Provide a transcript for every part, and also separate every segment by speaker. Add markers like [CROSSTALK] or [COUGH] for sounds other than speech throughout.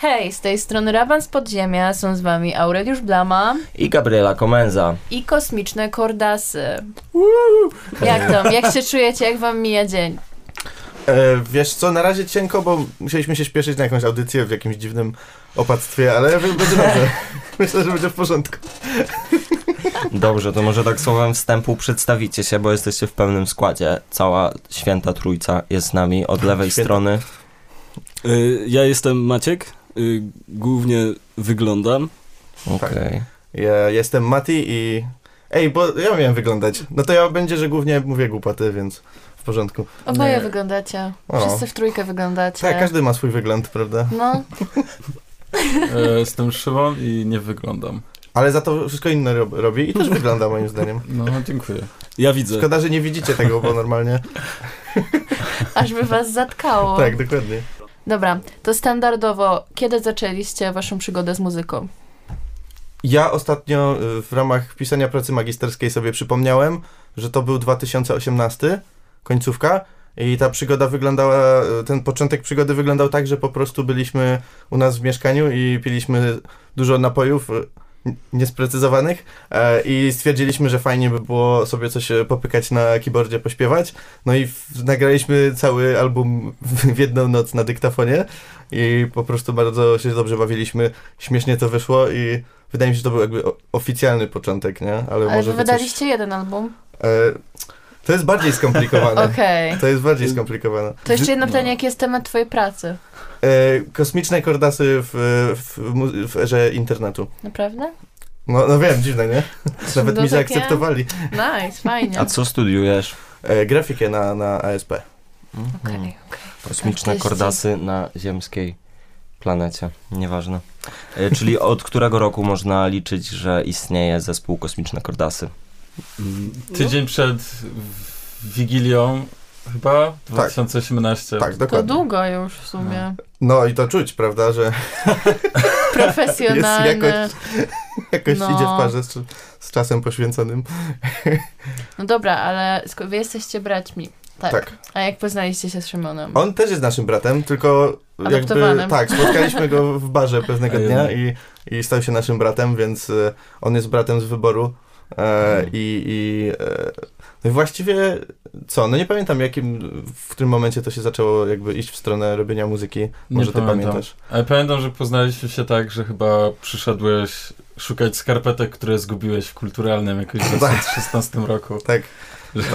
Speaker 1: Hej, z tej strony Raban z Podziemia, są z wami Aureliusz Blama
Speaker 2: i Gabriela Komenza.
Speaker 1: i Kosmiczne Kordasy. Jak tam? Jak
Speaker 3: [LAUGHS]
Speaker 1: się czujecie? Jak wam mija dzień?
Speaker 3: E, wiesz co, na razie cienko, bo musieliśmy się śpieszyć na jakąś audycję w jakimś dziwnym opactwie, ale wy- będzie dobrze. [LAUGHS] Myślę, że będzie w porządku.
Speaker 2: Dobrze, to może tak słowem wstępu przedstawicie się, bo jesteście w pełnym składzie. Cała święta trójca jest z nami od lewej
Speaker 3: Święta.
Speaker 2: strony.
Speaker 4: Y, Ja jestem Maciek, y, głównie wyglądam.
Speaker 2: Okej.
Speaker 3: Ja jestem Mati i... Ej, bo ja miałem wyglądać. No to ja będzie, że głównie mówię głupoty, więc w porządku.
Speaker 1: Oboje
Speaker 4: Nie.
Speaker 1: wyglądacie.
Speaker 3: O.
Speaker 1: Wszyscy w trójkę wyglądacie.
Speaker 3: Tak, każdy ma swój wygląd, prawda?
Speaker 1: No,
Speaker 5: E, Jestem Szymon i nie wyglądam.
Speaker 3: Ale za to wszystko inne rob- robi i też wygląda moim zdaniem.
Speaker 5: No, dziękuję.
Speaker 4: Ja widzę.
Speaker 3: Szkoda, że nie widzicie tego, bo normalnie...
Speaker 1: aż by was zatkało.
Speaker 3: Tak, dokładnie.
Speaker 1: Dobra, to standardowo, kiedy zaczęliście waszą przygodę z muzyką?
Speaker 3: Ja ostatnio y, w ramach pisania pracy magisterskiej sobie przypomniałem, że to był 2018, końcówka. I ta przygoda wyglądała, y, ten początek przygody wyglądał tak, że po prostu byliśmy u nas w mieszkaniu i piliśmy dużo napojów y, n- niesprecyzowanych e, i stwierdziliśmy, że fajnie by było sobie coś e, popykać na keyboardzie, pośpiewać. No i w, nagraliśmy cały album w, w jedną noc na dyktafonie i po prostu bardzo się dobrze bawiliśmy, śmiesznie to wyszło i Wydaje mi się, że to był jakby o- oficjalny początek, nie? Ale,
Speaker 1: Ale
Speaker 3: może
Speaker 1: wy
Speaker 3: wy
Speaker 1: wydaliście
Speaker 3: coś...
Speaker 1: jeden album?
Speaker 3: e, To jest bardziej skomplikowane.
Speaker 1: [LAUGHS] Okej.
Speaker 3: To jest bardziej skomplikowane.
Speaker 1: To jeszcze jedno
Speaker 5: No.
Speaker 1: pytanie, jaki jest temat twojej pracy?
Speaker 3: E, kosmiczne kordasy w, w, mu- w erze internetu. [LAUGHS]
Speaker 1: Naprawdę?
Speaker 3: No, no wiem, dziwne,
Speaker 1: [LAUGHS]
Speaker 3: nie? Nawet
Speaker 1: No takie-
Speaker 3: mi zaakceptowali
Speaker 1: Nice, fajnie.
Speaker 2: A co studiujesz?
Speaker 3: e, grafikę na, na ASP.
Speaker 1: Okej,
Speaker 2: Mhm.
Speaker 1: okej.
Speaker 2: Kosmiczne
Speaker 1: Artyści.
Speaker 2: kordasy na ziemskiej planecie. Nieważne. E, Czyli od którego roku można liczyć, że istnieje zespół Kosmiczne Kordasy?
Speaker 4: Mm,
Speaker 5: Tydzień przed w- Wigilią, chyba? 2018.
Speaker 3: Tak,
Speaker 1: To
Speaker 3: dokładnie.
Speaker 1: długo już w sumie.
Speaker 3: No i to czuć, prawda, że [LAUGHS]
Speaker 1: Profesjonalny.
Speaker 3: Jest jakoś- jakoś
Speaker 1: No.
Speaker 3: idzie w parze z, z czasem poświęconym.
Speaker 1: No dobra, ale sko- wy jesteście braćmi. Tak.
Speaker 3: tak.
Speaker 1: A jak poznaliście się z Szymonem?
Speaker 3: On też jest naszym bratem, tylko jakby
Speaker 1: Adoptowanym.
Speaker 3: tak, spotkaliśmy go w barze pewnego
Speaker 5: A
Speaker 3: dnia
Speaker 5: jednak.
Speaker 3: i, i stał się naszym bratem, więc e, on jest bratem z wyboru. E,
Speaker 5: Mhm.
Speaker 3: I i e, no i właściwie co? No nie pamiętam jakim, w którym momencie to się zaczęło jakby iść w stronę robienia muzyki.
Speaker 5: Nie
Speaker 3: Może ty
Speaker 5: pamiętam.
Speaker 3: pamiętasz.
Speaker 5: Ale pamiętam, że poznaliśmy się tak, że chyba przyszedłeś szukać skarpetek, które zgubiłeś w kulturalnym jakoś w 2016 roku. [LAUGHS]
Speaker 3: Tak,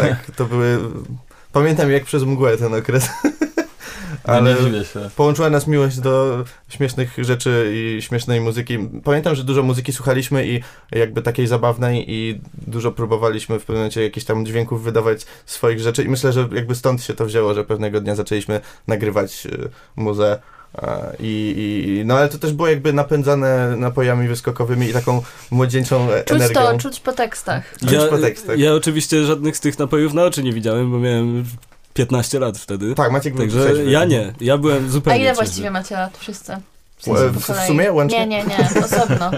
Speaker 3: tak, to były. Pamiętam jak przez mgłę ten okres.
Speaker 5: Ale... No Nie dziwię się.
Speaker 3: Połączyła nas miłość do śmiesznych rzeczy i śmiesznej muzyki. Pamiętam, że dużo muzyki słuchaliśmy i jakby takiej zabawnej i dużo próbowaliśmy w pewnym momencie jakichś tam dźwięków wydawać swoich rzeczy i myślę, że jakby stąd się to wzięło, że pewnego dnia zaczęliśmy nagrywać y, muzę e, i, i, i- no ale to też było jakby napędzane napojami wyskokowymi i taką młodzieńczą e,
Speaker 1: Czuć
Speaker 3: energią.
Speaker 1: to, czuć po tekstach.
Speaker 3: Czuć tak. po tekstach.
Speaker 4: ja oczywiście żadnych z tych napojów na oczy nie widziałem, bo miałem 15 lat wtedy.
Speaker 3: Tak, Maciek był
Speaker 4: Także
Speaker 3: trzeźwy.
Speaker 4: ja nie, ja byłem
Speaker 1: A
Speaker 4: zupełnie
Speaker 1: ile
Speaker 4: trzeźwy.
Speaker 1: właściwie macie lat wszyscy? W,
Speaker 3: E,
Speaker 1: po
Speaker 3: w- w
Speaker 1: kolei.
Speaker 3: sumie łącznie?
Speaker 1: Nie, nie, nie,
Speaker 3: [LAUGHS]
Speaker 1: osobno.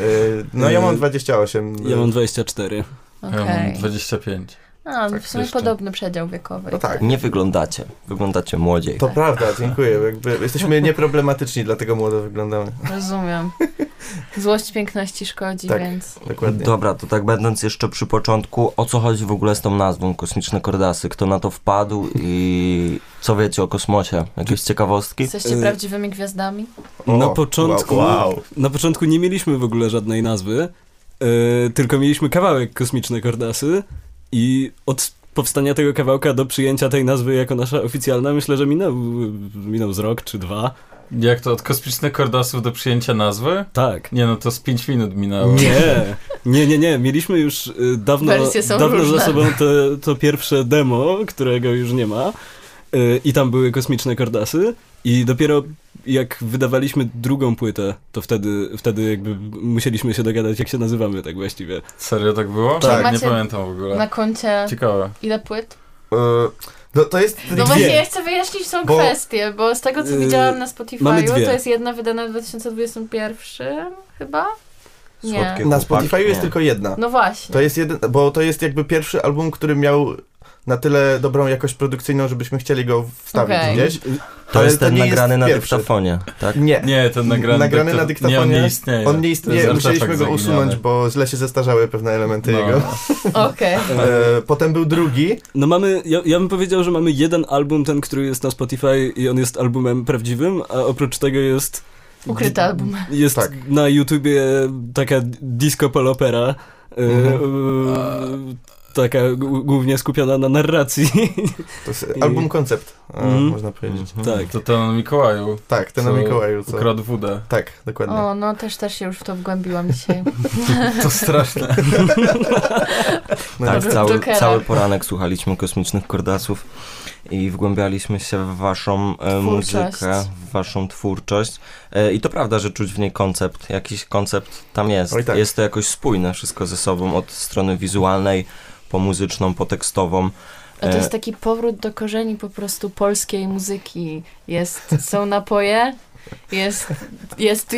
Speaker 3: Y, No ja mam
Speaker 4: Y,
Speaker 3: 28.
Speaker 4: Ja mam 24.
Speaker 5: Ja mam
Speaker 1: Okej.
Speaker 5: 25.
Speaker 1: A,
Speaker 5: tak,
Speaker 1: w sumie
Speaker 5: jeszcze.
Speaker 1: podobny przedział wiekowy.
Speaker 3: No tak.
Speaker 2: Nie wyglądacie. Wyglądacie młodziej.
Speaker 3: To prawda, dziękuję. Jakby jesteśmy nieproblematyczni, dlatego młodo wyglądamy. [LAUGHS]
Speaker 1: Rozumiem. Złość piękności szkodzi,
Speaker 3: Tak.
Speaker 1: więc...
Speaker 3: Dokładnie.
Speaker 2: Dobra, to tak będąc jeszcze przy początku, o co chodzi w ogóle z tą nazwą Kosmiczne Kordasy? Kto na to wpadł i co wiecie o kosmosie? Jakieś ciekawostki?
Speaker 1: Jesteście
Speaker 4: Y-
Speaker 1: prawdziwymi gwiazdami?
Speaker 3: O,
Speaker 4: Na początku,
Speaker 3: Wow. wow.
Speaker 4: na początku nie mieliśmy w ogóle żadnej nazwy, e, tylko mieliśmy kawałek Kosmiczne Kordasy i od powstania tego kawałka do przyjęcia tej nazwy jako nasza oficjalna myślę, że minął, minął z rok czy dwa.
Speaker 5: Jak to od kosmicznych kordasów do przyjęcia nazwy?
Speaker 4: Tak.
Speaker 5: Nie no, to z 5 minut minęło.
Speaker 4: Nie, nie, nie, nie. Mieliśmy już y, dawno,
Speaker 1: Wersje są
Speaker 4: dawno
Speaker 1: różne.
Speaker 4: za sobą te, to pierwsze demo, którego już nie ma. Y, I tam były kosmiczne kordasy. I dopiero jak wydawaliśmy drugą płytę, to wtedy, wtedy jakby musieliśmy się dogadać, jak się nazywamy tak właściwie.
Speaker 5: Serio tak było?
Speaker 3: Tak.
Speaker 5: Nie
Speaker 1: Macie-
Speaker 5: pamiętam w ogóle.
Speaker 1: Na koncie
Speaker 5: Ciekawe.
Speaker 1: ile płyt?
Speaker 3: E, No to jest.
Speaker 1: No właśnie, ja chcę wyjaśnić tą
Speaker 3: Bo-
Speaker 1: kwestię, bo z tego, co
Speaker 4: Y,
Speaker 1: widziałam na Spotify,
Speaker 4: mamy
Speaker 1: to
Speaker 4: dwie.
Speaker 1: jest jedna wydana w 2021 chyba? Nie.
Speaker 2: Słodkie
Speaker 3: Na
Speaker 2: chłopaki,
Speaker 3: Spotify
Speaker 2: nie.
Speaker 3: jest tylko jedna.
Speaker 1: No właśnie.
Speaker 3: To jest jeden, bo to jest jakby pierwszy album, który miał na tyle dobrą jakość produkcyjną, żebyśmy chcieli go wstawić
Speaker 1: Okej.
Speaker 3: gdzieś.
Speaker 2: To
Speaker 3: Ale
Speaker 2: jest
Speaker 3: to
Speaker 2: ten
Speaker 3: nie jest
Speaker 2: nagrany na
Speaker 3: pierwszy.
Speaker 2: dyktafonie, tak?
Speaker 3: Nie.
Speaker 5: Nie, ten nagrany,
Speaker 3: Nagrany
Speaker 5: dykta-
Speaker 3: na dyktafonie?
Speaker 5: Nie, on nie istnieje.
Speaker 3: On nie
Speaker 5: To
Speaker 3: istnieje,
Speaker 5: jest
Speaker 3: musieliśmy go
Speaker 5: artefakt
Speaker 3: usunąć,
Speaker 5: zaginiony.
Speaker 3: bo źle się zestarzały pewne elementy
Speaker 5: No.
Speaker 3: jego.
Speaker 1: Okej.
Speaker 3: E, potem był drugi,
Speaker 4: No mamy, ja, ja bym powiedział, że mamy jeden album, ten, który jest na Spotify i on jest albumem prawdziwym, a oprócz tego jest...
Speaker 1: Ukryty album.
Speaker 4: Jest
Speaker 3: Tak.
Speaker 4: na YouTubie taka disco polopera, yy,
Speaker 5: A-
Speaker 4: yy, taka g- głównie skupiona na narracji.
Speaker 3: to jest
Speaker 4: I-
Speaker 3: album koncept, e,
Speaker 4: Mhm.
Speaker 3: można powiedzieć.
Speaker 2: Mhm.
Speaker 4: tak.
Speaker 5: To ten o Mikołaju
Speaker 3: Tak, ten na
Speaker 5: Co
Speaker 3: Mikołaju, co?
Speaker 5: ukradł
Speaker 3: [LAUGHS]
Speaker 5: wódę.
Speaker 3: Tak, dokładnie.
Speaker 1: O, no też, też się już w to wgłębiłam dzisiaj.
Speaker 5: To straszne.
Speaker 3: No,
Speaker 2: Tak,
Speaker 1: Dobrze,
Speaker 2: cały,
Speaker 1: Jokera.
Speaker 2: cały poranek słuchaliśmy kosmicznych kordasów i wgłębialiśmy się w waszą e,
Speaker 1: Twórczość.
Speaker 2: muzykę, w waszą twórczość. E, I to prawda, że czuć w niej koncept. Jakiś koncept tam jest.
Speaker 3: Oj tak.
Speaker 2: Jest to jakoś spójne wszystko ze sobą od strony wizualnej po muzyczną, po tekstową.
Speaker 1: A to
Speaker 2: E,
Speaker 1: jest taki powrót do korzeni po prostu polskiej muzyki. Jest, są napoje, jest, jest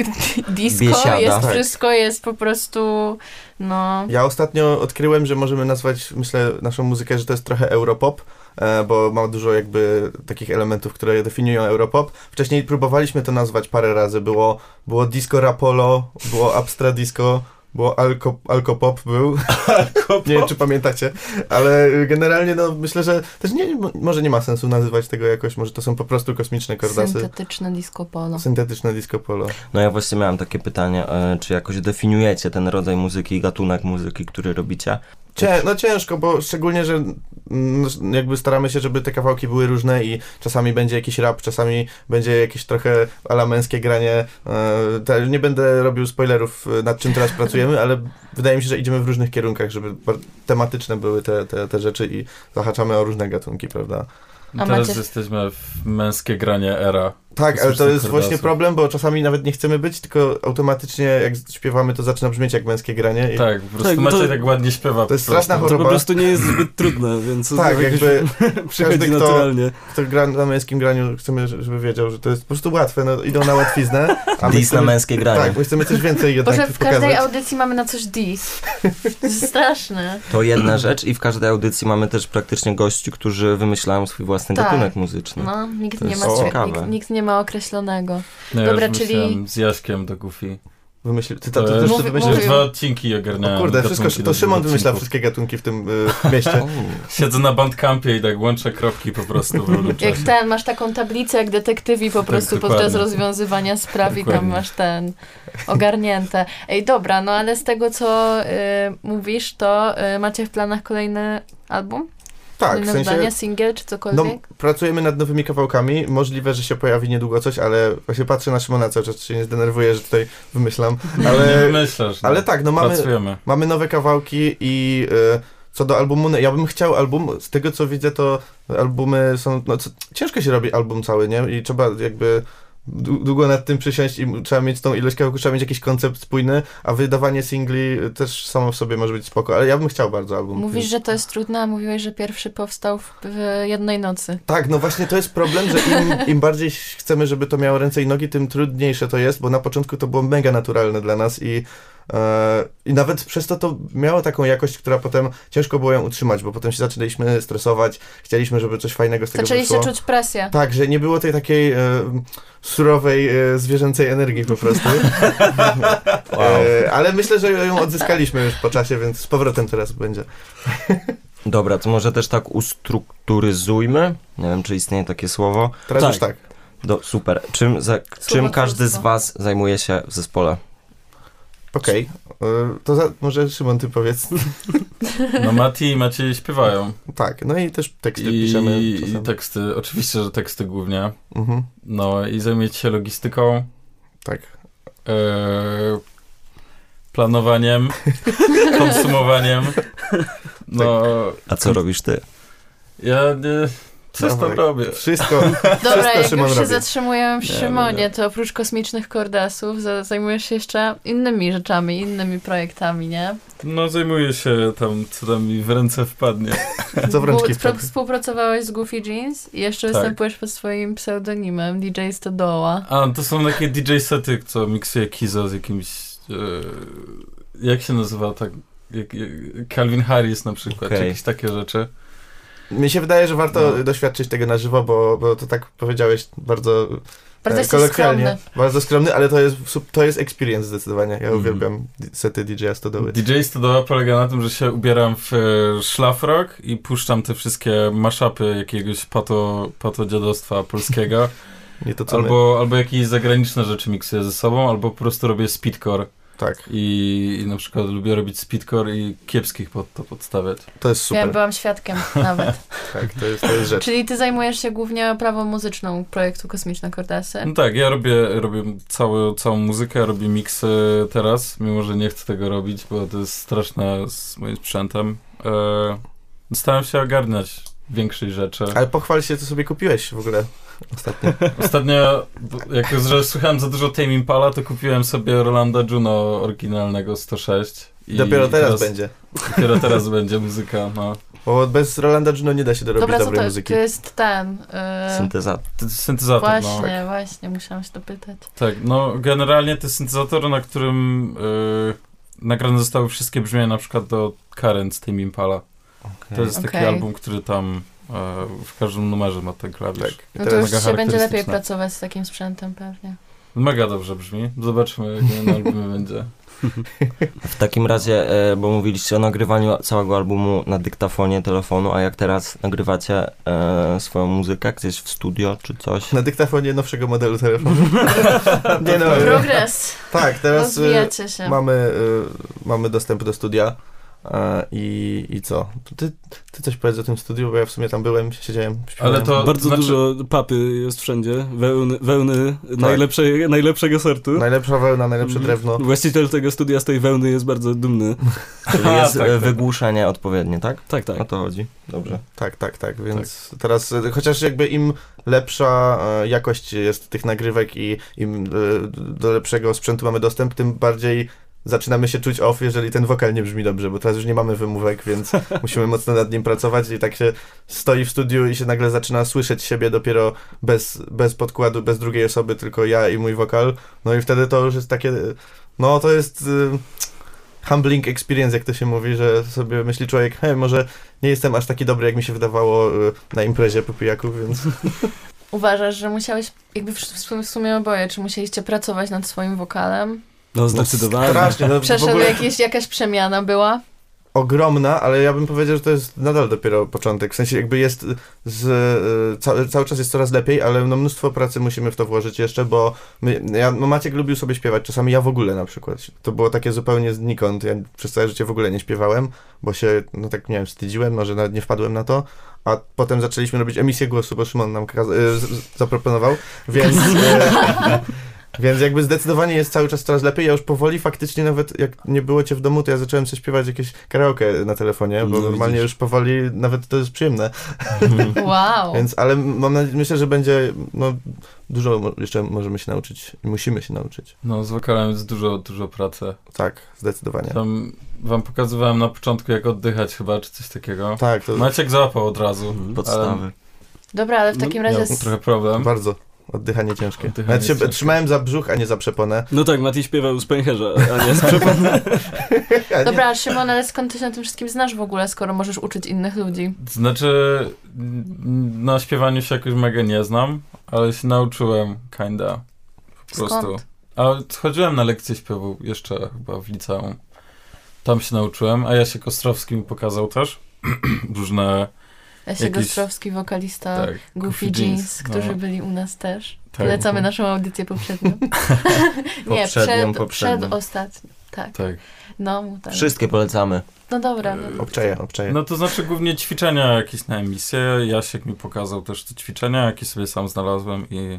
Speaker 1: disco,
Speaker 2: Biesiada.
Speaker 1: jest
Speaker 3: Tak.
Speaker 1: wszystko, jest po prostu, no...
Speaker 3: Ja ostatnio odkryłem, że możemy nazwać, myślę, naszą muzykę, że to jest trochę europop, e, bo ma dużo jakby takich elementów, które definiują europop. Wcześniej próbowaliśmy to nazwać parę razy. Było, było disco rapolo, było abstra disco, było alko, alkopop był. nie wiem, czy pamiętacie, ale y, generalnie no myślę, że też nie, mo- może nie ma sensu nazywać tego jakoś, może to są po prostu kosmiczne kordasy.
Speaker 1: Syntetyczne disco polo.
Speaker 3: Syntetyczne disco polo.
Speaker 2: No ja właśnie miałem takie pytanie, e, czy jakoś definiujecie ten rodzaj muzyki i gatunek muzyki, który robicie?
Speaker 3: Cię, no ciężko, bo szczególnie, że mm, jakby staramy się, żeby te kawałki były różne i czasami będzie jakiś rap, czasami będzie jakieś trochę ala męskie granie. E, te, nie będę robił spoilerów, e, nad czym teraz pracujemy, ale wydaje mi się, że idziemy w różnych kierunkach, żeby bar- tematyczne były te, te, te rzeczy i zahaczamy o różne gatunki, prawda?
Speaker 1: A
Speaker 5: Teraz
Speaker 1: macie-
Speaker 5: jesteśmy w męskie granie era.
Speaker 3: Tak, ale to
Speaker 5: Kosmiczne
Speaker 3: jest właśnie
Speaker 5: kordasy.
Speaker 3: problem, bo czasami nawet nie chcemy być, tylko automatycznie jak śpiewamy, to zaczyna brzmieć jak męskie granie. I
Speaker 5: Tak, po prostu
Speaker 4: Tak, to-
Speaker 5: Maciej tak ładnie śpiewa.
Speaker 3: no to jest
Speaker 5: po prostu.
Speaker 3: straszna
Speaker 4: To po
Speaker 3: choroba.
Speaker 4: prostu nie jest zbyt trudne, więc
Speaker 3: Tak,
Speaker 4: jakoś
Speaker 3: jakby
Speaker 4: [LAUGHS] przychodzi
Speaker 3: każdy, kto-
Speaker 4: naturalnie.
Speaker 3: kto gra na męskim graniu, chcemy, żeby wiedział, że to jest po prostu łatwe, no, idą na łatwiznę. A
Speaker 2: Dis na męskie granie.
Speaker 3: Tak, my chcemy coś więcej jednak
Speaker 1: Boże, w każdej
Speaker 3: pokazać.
Speaker 1: audycji mamy na coś dis. To jest straszne.
Speaker 2: To jedna rzecz i w każdej audycji mamy też praktycznie gości, którzy wymyślają swój własny
Speaker 1: Tak.
Speaker 2: gatunek muzyczny.
Speaker 1: No, nikt
Speaker 2: To
Speaker 1: nie,
Speaker 2: jest
Speaker 1: ma, swe-
Speaker 2: ciekawe.
Speaker 1: nikt, nikt nie ma określonego.
Speaker 5: No,
Speaker 1: Dobra,
Speaker 5: Dobra,
Speaker 1: czyli-
Speaker 5: czyli... Z Jaśkiem do Goofy.
Speaker 3: Wymyśl... Ty,
Speaker 5: To,
Speaker 3: to,
Speaker 5: to,
Speaker 3: to, też
Speaker 1: Mówi-
Speaker 3: to
Speaker 5: będzie
Speaker 1: mówił.
Speaker 3: wymyślisz.
Speaker 5: dwa odcinki ogarniałem.
Speaker 3: O kurde, wszystko,
Speaker 5: gatunki do
Speaker 3: to Szymon
Speaker 5: dwóch
Speaker 3: wymyśla
Speaker 5: odcinków.
Speaker 3: wszystkie gatunki w tym y, [LAUGHS] mieście.
Speaker 5: Siedzę na bandkampie i tak łączę kropki po prostu w równym
Speaker 1: [LAUGHS] Jak
Speaker 5: czasie.
Speaker 1: ten, masz taką tablicę jak detektywi po
Speaker 5: Tak,
Speaker 1: prostu
Speaker 5: dokładnie.
Speaker 1: podczas rozwiązywania spraw i tam
Speaker 5: Dokładnie.
Speaker 1: masz ten ogarnięte. Ej, dobra, no ale z tego co y, mówisz, to y, macie w planach kolejny album?
Speaker 3: Tak, w
Speaker 1: Kolejne wydanie,
Speaker 3: sensie...
Speaker 1: single czy
Speaker 3: No,
Speaker 1: cokolwiek?
Speaker 3: pracujemy nad nowymi kawałkami. Możliwe, że się pojawi niedługo coś, ale właśnie patrzę na Szymona cały czas, się nie zdenerwuję, że tutaj wymyślam.
Speaker 5: [LAUGHS] Ale...
Speaker 3: Ale,
Speaker 5: Nie myślisz,
Speaker 3: ale tak, no mamy,
Speaker 5: Pracujemy.
Speaker 3: Mamy nowe kawałki i y, co do albumu, no, ja bym chciał album, z tego co widzę to albumy są, no co, ciężko się robi album cały, nie? I trzeba jakby dłu- długo nad tym przysiąść i m- trzeba mieć tą ilość kawałków, trzeba mieć jakiś koncept spójny, a wydawanie singli y, też samo w sobie może być spoko, ale ja bym chciał bardzo album.
Speaker 1: Mówisz, że to jest trudne, a mówiłeś, że pierwszy powstał w, w jednej nocy.
Speaker 3: Tak, no właśnie to jest problem, że im, im bardziej chcemy, żeby to miało ręce i nogi, tym trudniejsze to jest, bo na początku to było mega naturalne dla nas i, e, i nawet przez to to miało taką jakość, która potem ciężko było ją utrzymać, bo potem się zaczęliśmy stresować, chcieliśmy, żeby coś fajnego z tego
Speaker 1: Zaczęliście
Speaker 3: wyszło.
Speaker 1: czuć
Speaker 3: [LAUGHS]
Speaker 1: presję.
Speaker 3: Tak, że nie było tej takiej e, surowej, e, zwierzęcej energii po prostu.
Speaker 2: Wow.
Speaker 3: E, ale myślę, że ją odzyskaliśmy już po czasie, więc z powrotem teraz będzie.
Speaker 2: Dobra, to może też tak ustrukturyzujmy. Nie wiem, czy istnieje takie słowo.
Speaker 3: Teraz
Speaker 4: Tak.
Speaker 3: już tak.
Speaker 2: Do, super. Czym, za, czym każdy z was zajmuje się w zespole?
Speaker 3: Okej, e, to za, może Szymon, ty powiedz.
Speaker 5: No Mati i Maciej śpiewają.
Speaker 3: Tak, no i też teksty
Speaker 5: I, tak.
Speaker 3: piszemy
Speaker 5: I
Speaker 3: czasem.
Speaker 5: teksty, oczywiście, że teksty głównie.
Speaker 3: Mhm,
Speaker 5: No i zajmujecie się logistyką,
Speaker 3: tak.
Speaker 5: e,
Speaker 1: [LAUGHS]
Speaker 5: planowaniem, konsumowaniem. No,
Speaker 3: Tak.
Speaker 2: A co robisz ty?
Speaker 5: ja nie, coś tam
Speaker 3: Dawaj.
Speaker 5: robię. [LAUGHS]
Speaker 3: Wszystko.
Speaker 1: Dobra, jak
Speaker 3: Szymon
Speaker 1: już się
Speaker 3: robi.
Speaker 1: zatrzymujemy w
Speaker 5: Nie,
Speaker 1: Szymonie,
Speaker 5: nie.
Speaker 1: to oprócz kosmicznych kordasów za- zajmujesz się jeszcze innymi rzeczami, innymi projektami, nie?
Speaker 5: No zajmuję się tam, co tam mi w ręce wpadnie.
Speaker 3: Co w rączki
Speaker 1: Współ-
Speaker 3: wpadnie?
Speaker 1: Współpracowałeś z Goofy Jeans i jeszcze
Speaker 5: Tak.
Speaker 1: występujesz pod swoim pseudonimem DJ Stodoła.
Speaker 5: A, to są takie DJ sety, co miksuje Kizo z jakimś... E, jak się nazywa tak? Jak, jak, Calvin Harris na przykład,
Speaker 2: Okej.
Speaker 5: jakieś takie rzeczy.
Speaker 3: Mi się wydaje, że warto
Speaker 5: No.
Speaker 3: doświadczyć tego na żywo, bo, bo to tak powiedziałeś bardzo,
Speaker 1: Bardzo
Speaker 3: e,
Speaker 1: jesteś
Speaker 3: kolokwialnie.
Speaker 1: skromny.
Speaker 3: Bardzo skromny, ale to jest, sup- to jest experience zdecydowanie. Ja
Speaker 4: Mhm.
Speaker 3: uwielbiam d- sety DJ-a Stodoły.
Speaker 5: DJ Stodoła polega na tym, że się ubieram w e, szlafrok i puszczam te wszystkie maszapy jakiegoś pato, pato dziadostwa polskiego.
Speaker 3: Nie [LAUGHS] to co my.
Speaker 5: albo, albo jakieś zagraniczne rzeczy miksuję ze sobą, albo po prostu robię speedcore.
Speaker 3: Tak,
Speaker 5: I, i na przykład lubię robić speedcore i kiepskich pod to podstawiać.
Speaker 3: to jest
Speaker 1: Ja
Speaker 3: super.
Speaker 1: byłam świadkiem nawet.
Speaker 3: [LAUGHS] Tak, to jest, to jest
Speaker 1: [LAUGHS]
Speaker 3: rzecz.
Speaker 1: Czyli ty zajmujesz się głównie prawą muzyczną projektu Kosmiczne Kordasy.
Speaker 3: Mm,
Speaker 5: No tak, ja robię, robię całą, całą muzykę, robię miksy teraz, mimo że nie chcę tego robić, bo to jest straszne z moim sprzętem. E, staram się ogarniać większej rzeczy.
Speaker 3: Ale pochwal się, co sobie kupiłeś w ogóle ostatnio.
Speaker 5: Ostatnio, b- jak już że słuchałem za dużo Tame Impala, to kupiłem sobie Rolanda Juno oryginalnego 106. I
Speaker 3: Dopiero
Speaker 5: i
Speaker 3: teraz, będzie.
Speaker 5: Dopiero teraz będzie muzyka, no.
Speaker 3: Bo bez Rolanda Juno nie da się dorobić
Speaker 1: Dobra, co
Speaker 3: dobrej
Speaker 1: to,
Speaker 3: muzyki.
Speaker 1: to jest ten... Yy,
Speaker 2: Syntezator.
Speaker 5: Ty- Syntezator, no.
Speaker 1: właśnie,
Speaker 3: tak.
Speaker 1: właśnie, musiałam się dopytać.
Speaker 5: Tak, no generalnie to jest syntezator, na którym yy, nagrane zostały wszystkie brzmienia, na przykład do Karen z Tame Impala.
Speaker 2: Tak.
Speaker 5: To jest taki
Speaker 1: Okej.
Speaker 5: album, który tam e, w każdym numerze ma ten klawisz.
Speaker 3: Tak. I
Speaker 1: No to
Speaker 3: teraz
Speaker 1: już
Speaker 5: mega
Speaker 1: się będzie lepiej
Speaker 5: charakterystyczne.
Speaker 1: pracować z takim sprzętem pewnie.
Speaker 5: Mega dobrze brzmi. Zobaczmy, jak
Speaker 1: [LAUGHS]
Speaker 5: na albumie będzie.
Speaker 2: W takim razie, e, bo mówiliście o nagrywaniu całego albumu na dyktafonie telefonu, a jak teraz nagrywacie e, swoją muzykę gdzieś w studio czy
Speaker 3: [LAUGHS]
Speaker 2: coś?
Speaker 3: Na dyktafonie nowszego modelu telefonu. [LAUGHS] nie no, e,
Speaker 1: Progres!
Speaker 3: tak, [LAUGHS] teraz e,
Speaker 1: Rozwijacie się.
Speaker 3: mamy, e, mamy dostęp do studia e, i, i co? Ty, ty coś powiedz o tym studiu, bo ja w sumie tam byłem, siedziałem, śpiewałem.
Speaker 5: Ale to-
Speaker 4: Bardzo
Speaker 5: znaczy-
Speaker 4: dużo papy jest wszędzie, wełny, wełny
Speaker 3: Tak.
Speaker 4: najlepszej, najlepszego sortu.
Speaker 3: Najlepsza wełna, najlepsze drewno.
Speaker 4: Właściciel tego studia z tej wełny jest bardzo dumny.
Speaker 2: Czyli
Speaker 5: A,
Speaker 2: jest
Speaker 5: tak,
Speaker 2: e,
Speaker 5: tak.
Speaker 2: wygłuszenie odpowiednie, tak?
Speaker 4: Tak,
Speaker 2: O
Speaker 4: tak.
Speaker 2: to chodzi. Dobrze.
Speaker 3: Tak, tak, tak, więc teraz, e, chociaż jakby im lepsza e, jakość jest tych nagrywek i im e, do lepszego sprzętu mamy dostęp, tym bardziej zaczynamy się czuć off, jeżeli ten wokal nie brzmi dobrze, bo teraz już nie mamy wymówek, więc musimy mocno nad nim pracować i tak się stoi w studiu i się nagle zaczyna słyszeć siebie dopiero bez, bez podkładu, bez drugiej osoby, tylko ja i mój wokal, no i wtedy to już jest takie, no to jest... y, Humbling experience, jak to się mówi, że sobie myśli człowiek, hej, może nie jestem aż taki dobry, jak mi się wydawało y, na imprezie po pijaku, więc
Speaker 1: Uważasz, że musiałeś, jakby w w- w sumie oboje, czy musieliście pracować nad swoim wokalem?
Speaker 4: No zdecydowanie.
Speaker 3: strasznie, no, w
Speaker 1: Przeszedł
Speaker 3: ogóle
Speaker 1: jakieś, jakaś przemiana była?
Speaker 3: ogromna, ale ja bym powiedział, że to jest nadal dopiero początek, w sensie jakby jest z, y, ca, cały czas jest coraz lepiej, ale no mnóstwo pracy musimy w to włożyć jeszcze, bo my, ja, no Maciek lubił sobie śpiewać, czasami ja w ogóle na przykład, to było takie zupełnie znikąd, ja przez całe życie w ogóle nie śpiewałem, bo się, no tak nie wiem, wstydziłem, może nawet nie wpadłem na to, a potem zaczęliśmy robić emisję głosu, bo Szymon nam kaza- y, z- z- zaproponował, więc... y, [LAUGHS] Więc jakby zdecydowanie jest cały czas coraz lepiej. Ja już powoli faktycznie nawet jak nie było cię w domu, to ja zacząłem sobie śpiewać jakieś karaoke na telefonie, bo
Speaker 4: No
Speaker 3: normalnie
Speaker 4: widzisz.
Speaker 3: już powoli nawet to jest przyjemne.
Speaker 1: Wow!
Speaker 3: Więc ale mam nadzie- myślę, że będzie no, dużo mo- jeszcze możemy się nauczyć i musimy się nauczyć.
Speaker 5: No, z wokalem jest dużo, dużo pracy.
Speaker 3: Tak, zdecydowanie.
Speaker 5: Tam wam pokazywałem na początku, jak oddychać chyba, czy coś takiego.
Speaker 3: Tak, to
Speaker 5: Maciek załapał od razu.
Speaker 2: Podstawy.
Speaker 1: Dobra, ale w takim
Speaker 4: No,
Speaker 1: razie...
Speaker 5: Miał
Speaker 1: s-
Speaker 5: trochę problem.
Speaker 3: bardzo oddychanie ciężkie.
Speaker 5: Oddychanie
Speaker 3: nawet się
Speaker 5: ciężkie.
Speaker 3: trzymałem za brzuch, a nie za przeponę. [LAUGHS]
Speaker 4: No tak, Mati śpiewał z pęcherza, a nie z przepadu.
Speaker 3: A nie-
Speaker 1: Dobra, Szymon, ale skąd ty się na tym wszystkim znasz w ogóle, skoro możesz uczyć innych ludzi?
Speaker 5: Znaczy, n- na śpiewaniu się jakoś mega nie znam, ale się nauczyłem, kinda. Po prostu.
Speaker 1: Skąd?
Speaker 5: A chodziłem na lekcje śpiewu jeszcze chyba w liceum. Tam się nauczyłem, a Jasiek Ostrowski mi pokazał też [CLEARS THROAT] różne...
Speaker 1: Jasiek
Speaker 5: Jakiś-
Speaker 1: Ostrowski, wokalista
Speaker 5: Tak,
Speaker 1: Goofy
Speaker 5: Goofy
Speaker 1: Jeans,
Speaker 5: Jeans, no.
Speaker 1: którzy byli u nas też.
Speaker 5: tak.
Speaker 1: Polecamy naszą audycję poprzednią.
Speaker 5: [LAUGHS]
Speaker 1: nie,
Speaker 2: Poprzednią,
Speaker 1: przed,
Speaker 2: poprzednią.
Speaker 1: przedostatnią. Tak,
Speaker 5: Tak.
Speaker 1: no tak.
Speaker 2: Wszystkie polecamy.
Speaker 1: No dobra, no.
Speaker 3: Obczeję, obczeję.
Speaker 5: No to znaczy głównie ćwiczenia jakieś na emisję. Jasiek mi pokazał też te ćwiczenia, jakie sobie sam znalazłem i,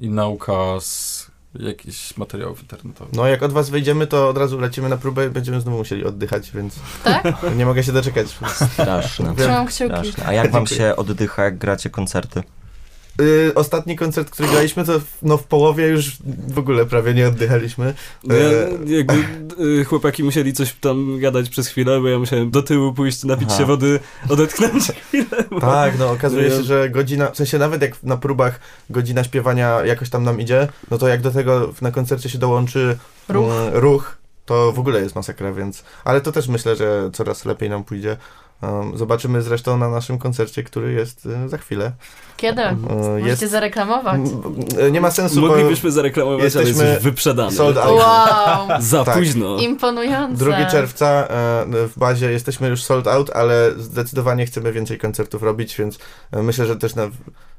Speaker 5: i nauka z jakichś materiałów internetowych.
Speaker 3: No jak od was wyjdziemy, to od razu lecimy na próbę i będziemy znowu musieli oddychać, więc
Speaker 1: Tak?
Speaker 3: nie mogę się doczekać.
Speaker 2: Straszne.
Speaker 1: trzymam kciuki.
Speaker 2: Straszne. A jak wam
Speaker 3: Dziękuję.
Speaker 2: się oddycha, jak gracie koncerty?
Speaker 3: Y, ostatni koncert, który graliśmy, to w- no w połowie już w ogóle prawie nie oddychaliśmy.
Speaker 4: Ja, jakby y, chłopaki musieli coś tam gadać przez chwilę, bo ja musiałem do tyłu pójść, napić
Speaker 2: Aha.
Speaker 4: się wody, odetchnąć chwilę. bo-
Speaker 3: Tak, no okazuje
Speaker 4: No ja-
Speaker 3: się, że godzina, w sensie nawet jak na próbach godzina śpiewania jakoś tam nam idzie, no to jak do tego w- na koncercie się dołączy
Speaker 1: Ruch.
Speaker 3: mm, ruch to w ogóle jest masakra, więc... Ale to też myślę, że coraz lepiej nam pójdzie. Um, zobaczymy zresztą na naszym koncercie, który jest e, za chwilę.
Speaker 1: Kiedy?
Speaker 3: E,
Speaker 1: Tak.
Speaker 5: No,
Speaker 1: Możecie
Speaker 3: jest,
Speaker 1: zareklamować.
Speaker 5: Mm,
Speaker 3: e, nie ma sensu, bo
Speaker 4: Moglibyśmy zareklamować,
Speaker 3: jesteśmy
Speaker 4: ale jesteś wyprzedany.
Speaker 3: sold out.
Speaker 5: [LAUGHS]
Speaker 1: Wow,
Speaker 4: Za
Speaker 3: Tak.
Speaker 4: późno.
Speaker 1: imponujące.
Speaker 3: 2 czerwca e, w bazie jesteśmy już sold out, ale zdecydowanie chcemy więcej koncertów robić, więc e, myślę, że też na,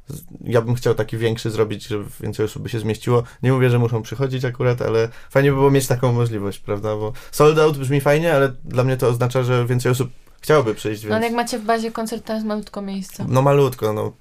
Speaker 3: z- ja bym chciał taki większy zrobić, żeby więcej osób by się zmieściło. Nie mówię, że muszą przychodzić akurat, ale fajnie by było mieć taką możliwość, prawda? Bo sold out brzmi fajnie, ale dla mnie to oznacza, że więcej osób chciałoby przyjść,
Speaker 1: No ale jak
Speaker 3: więc...
Speaker 1: macie w bazie koncert, to jest malutko miejsce.
Speaker 3: No malutko, no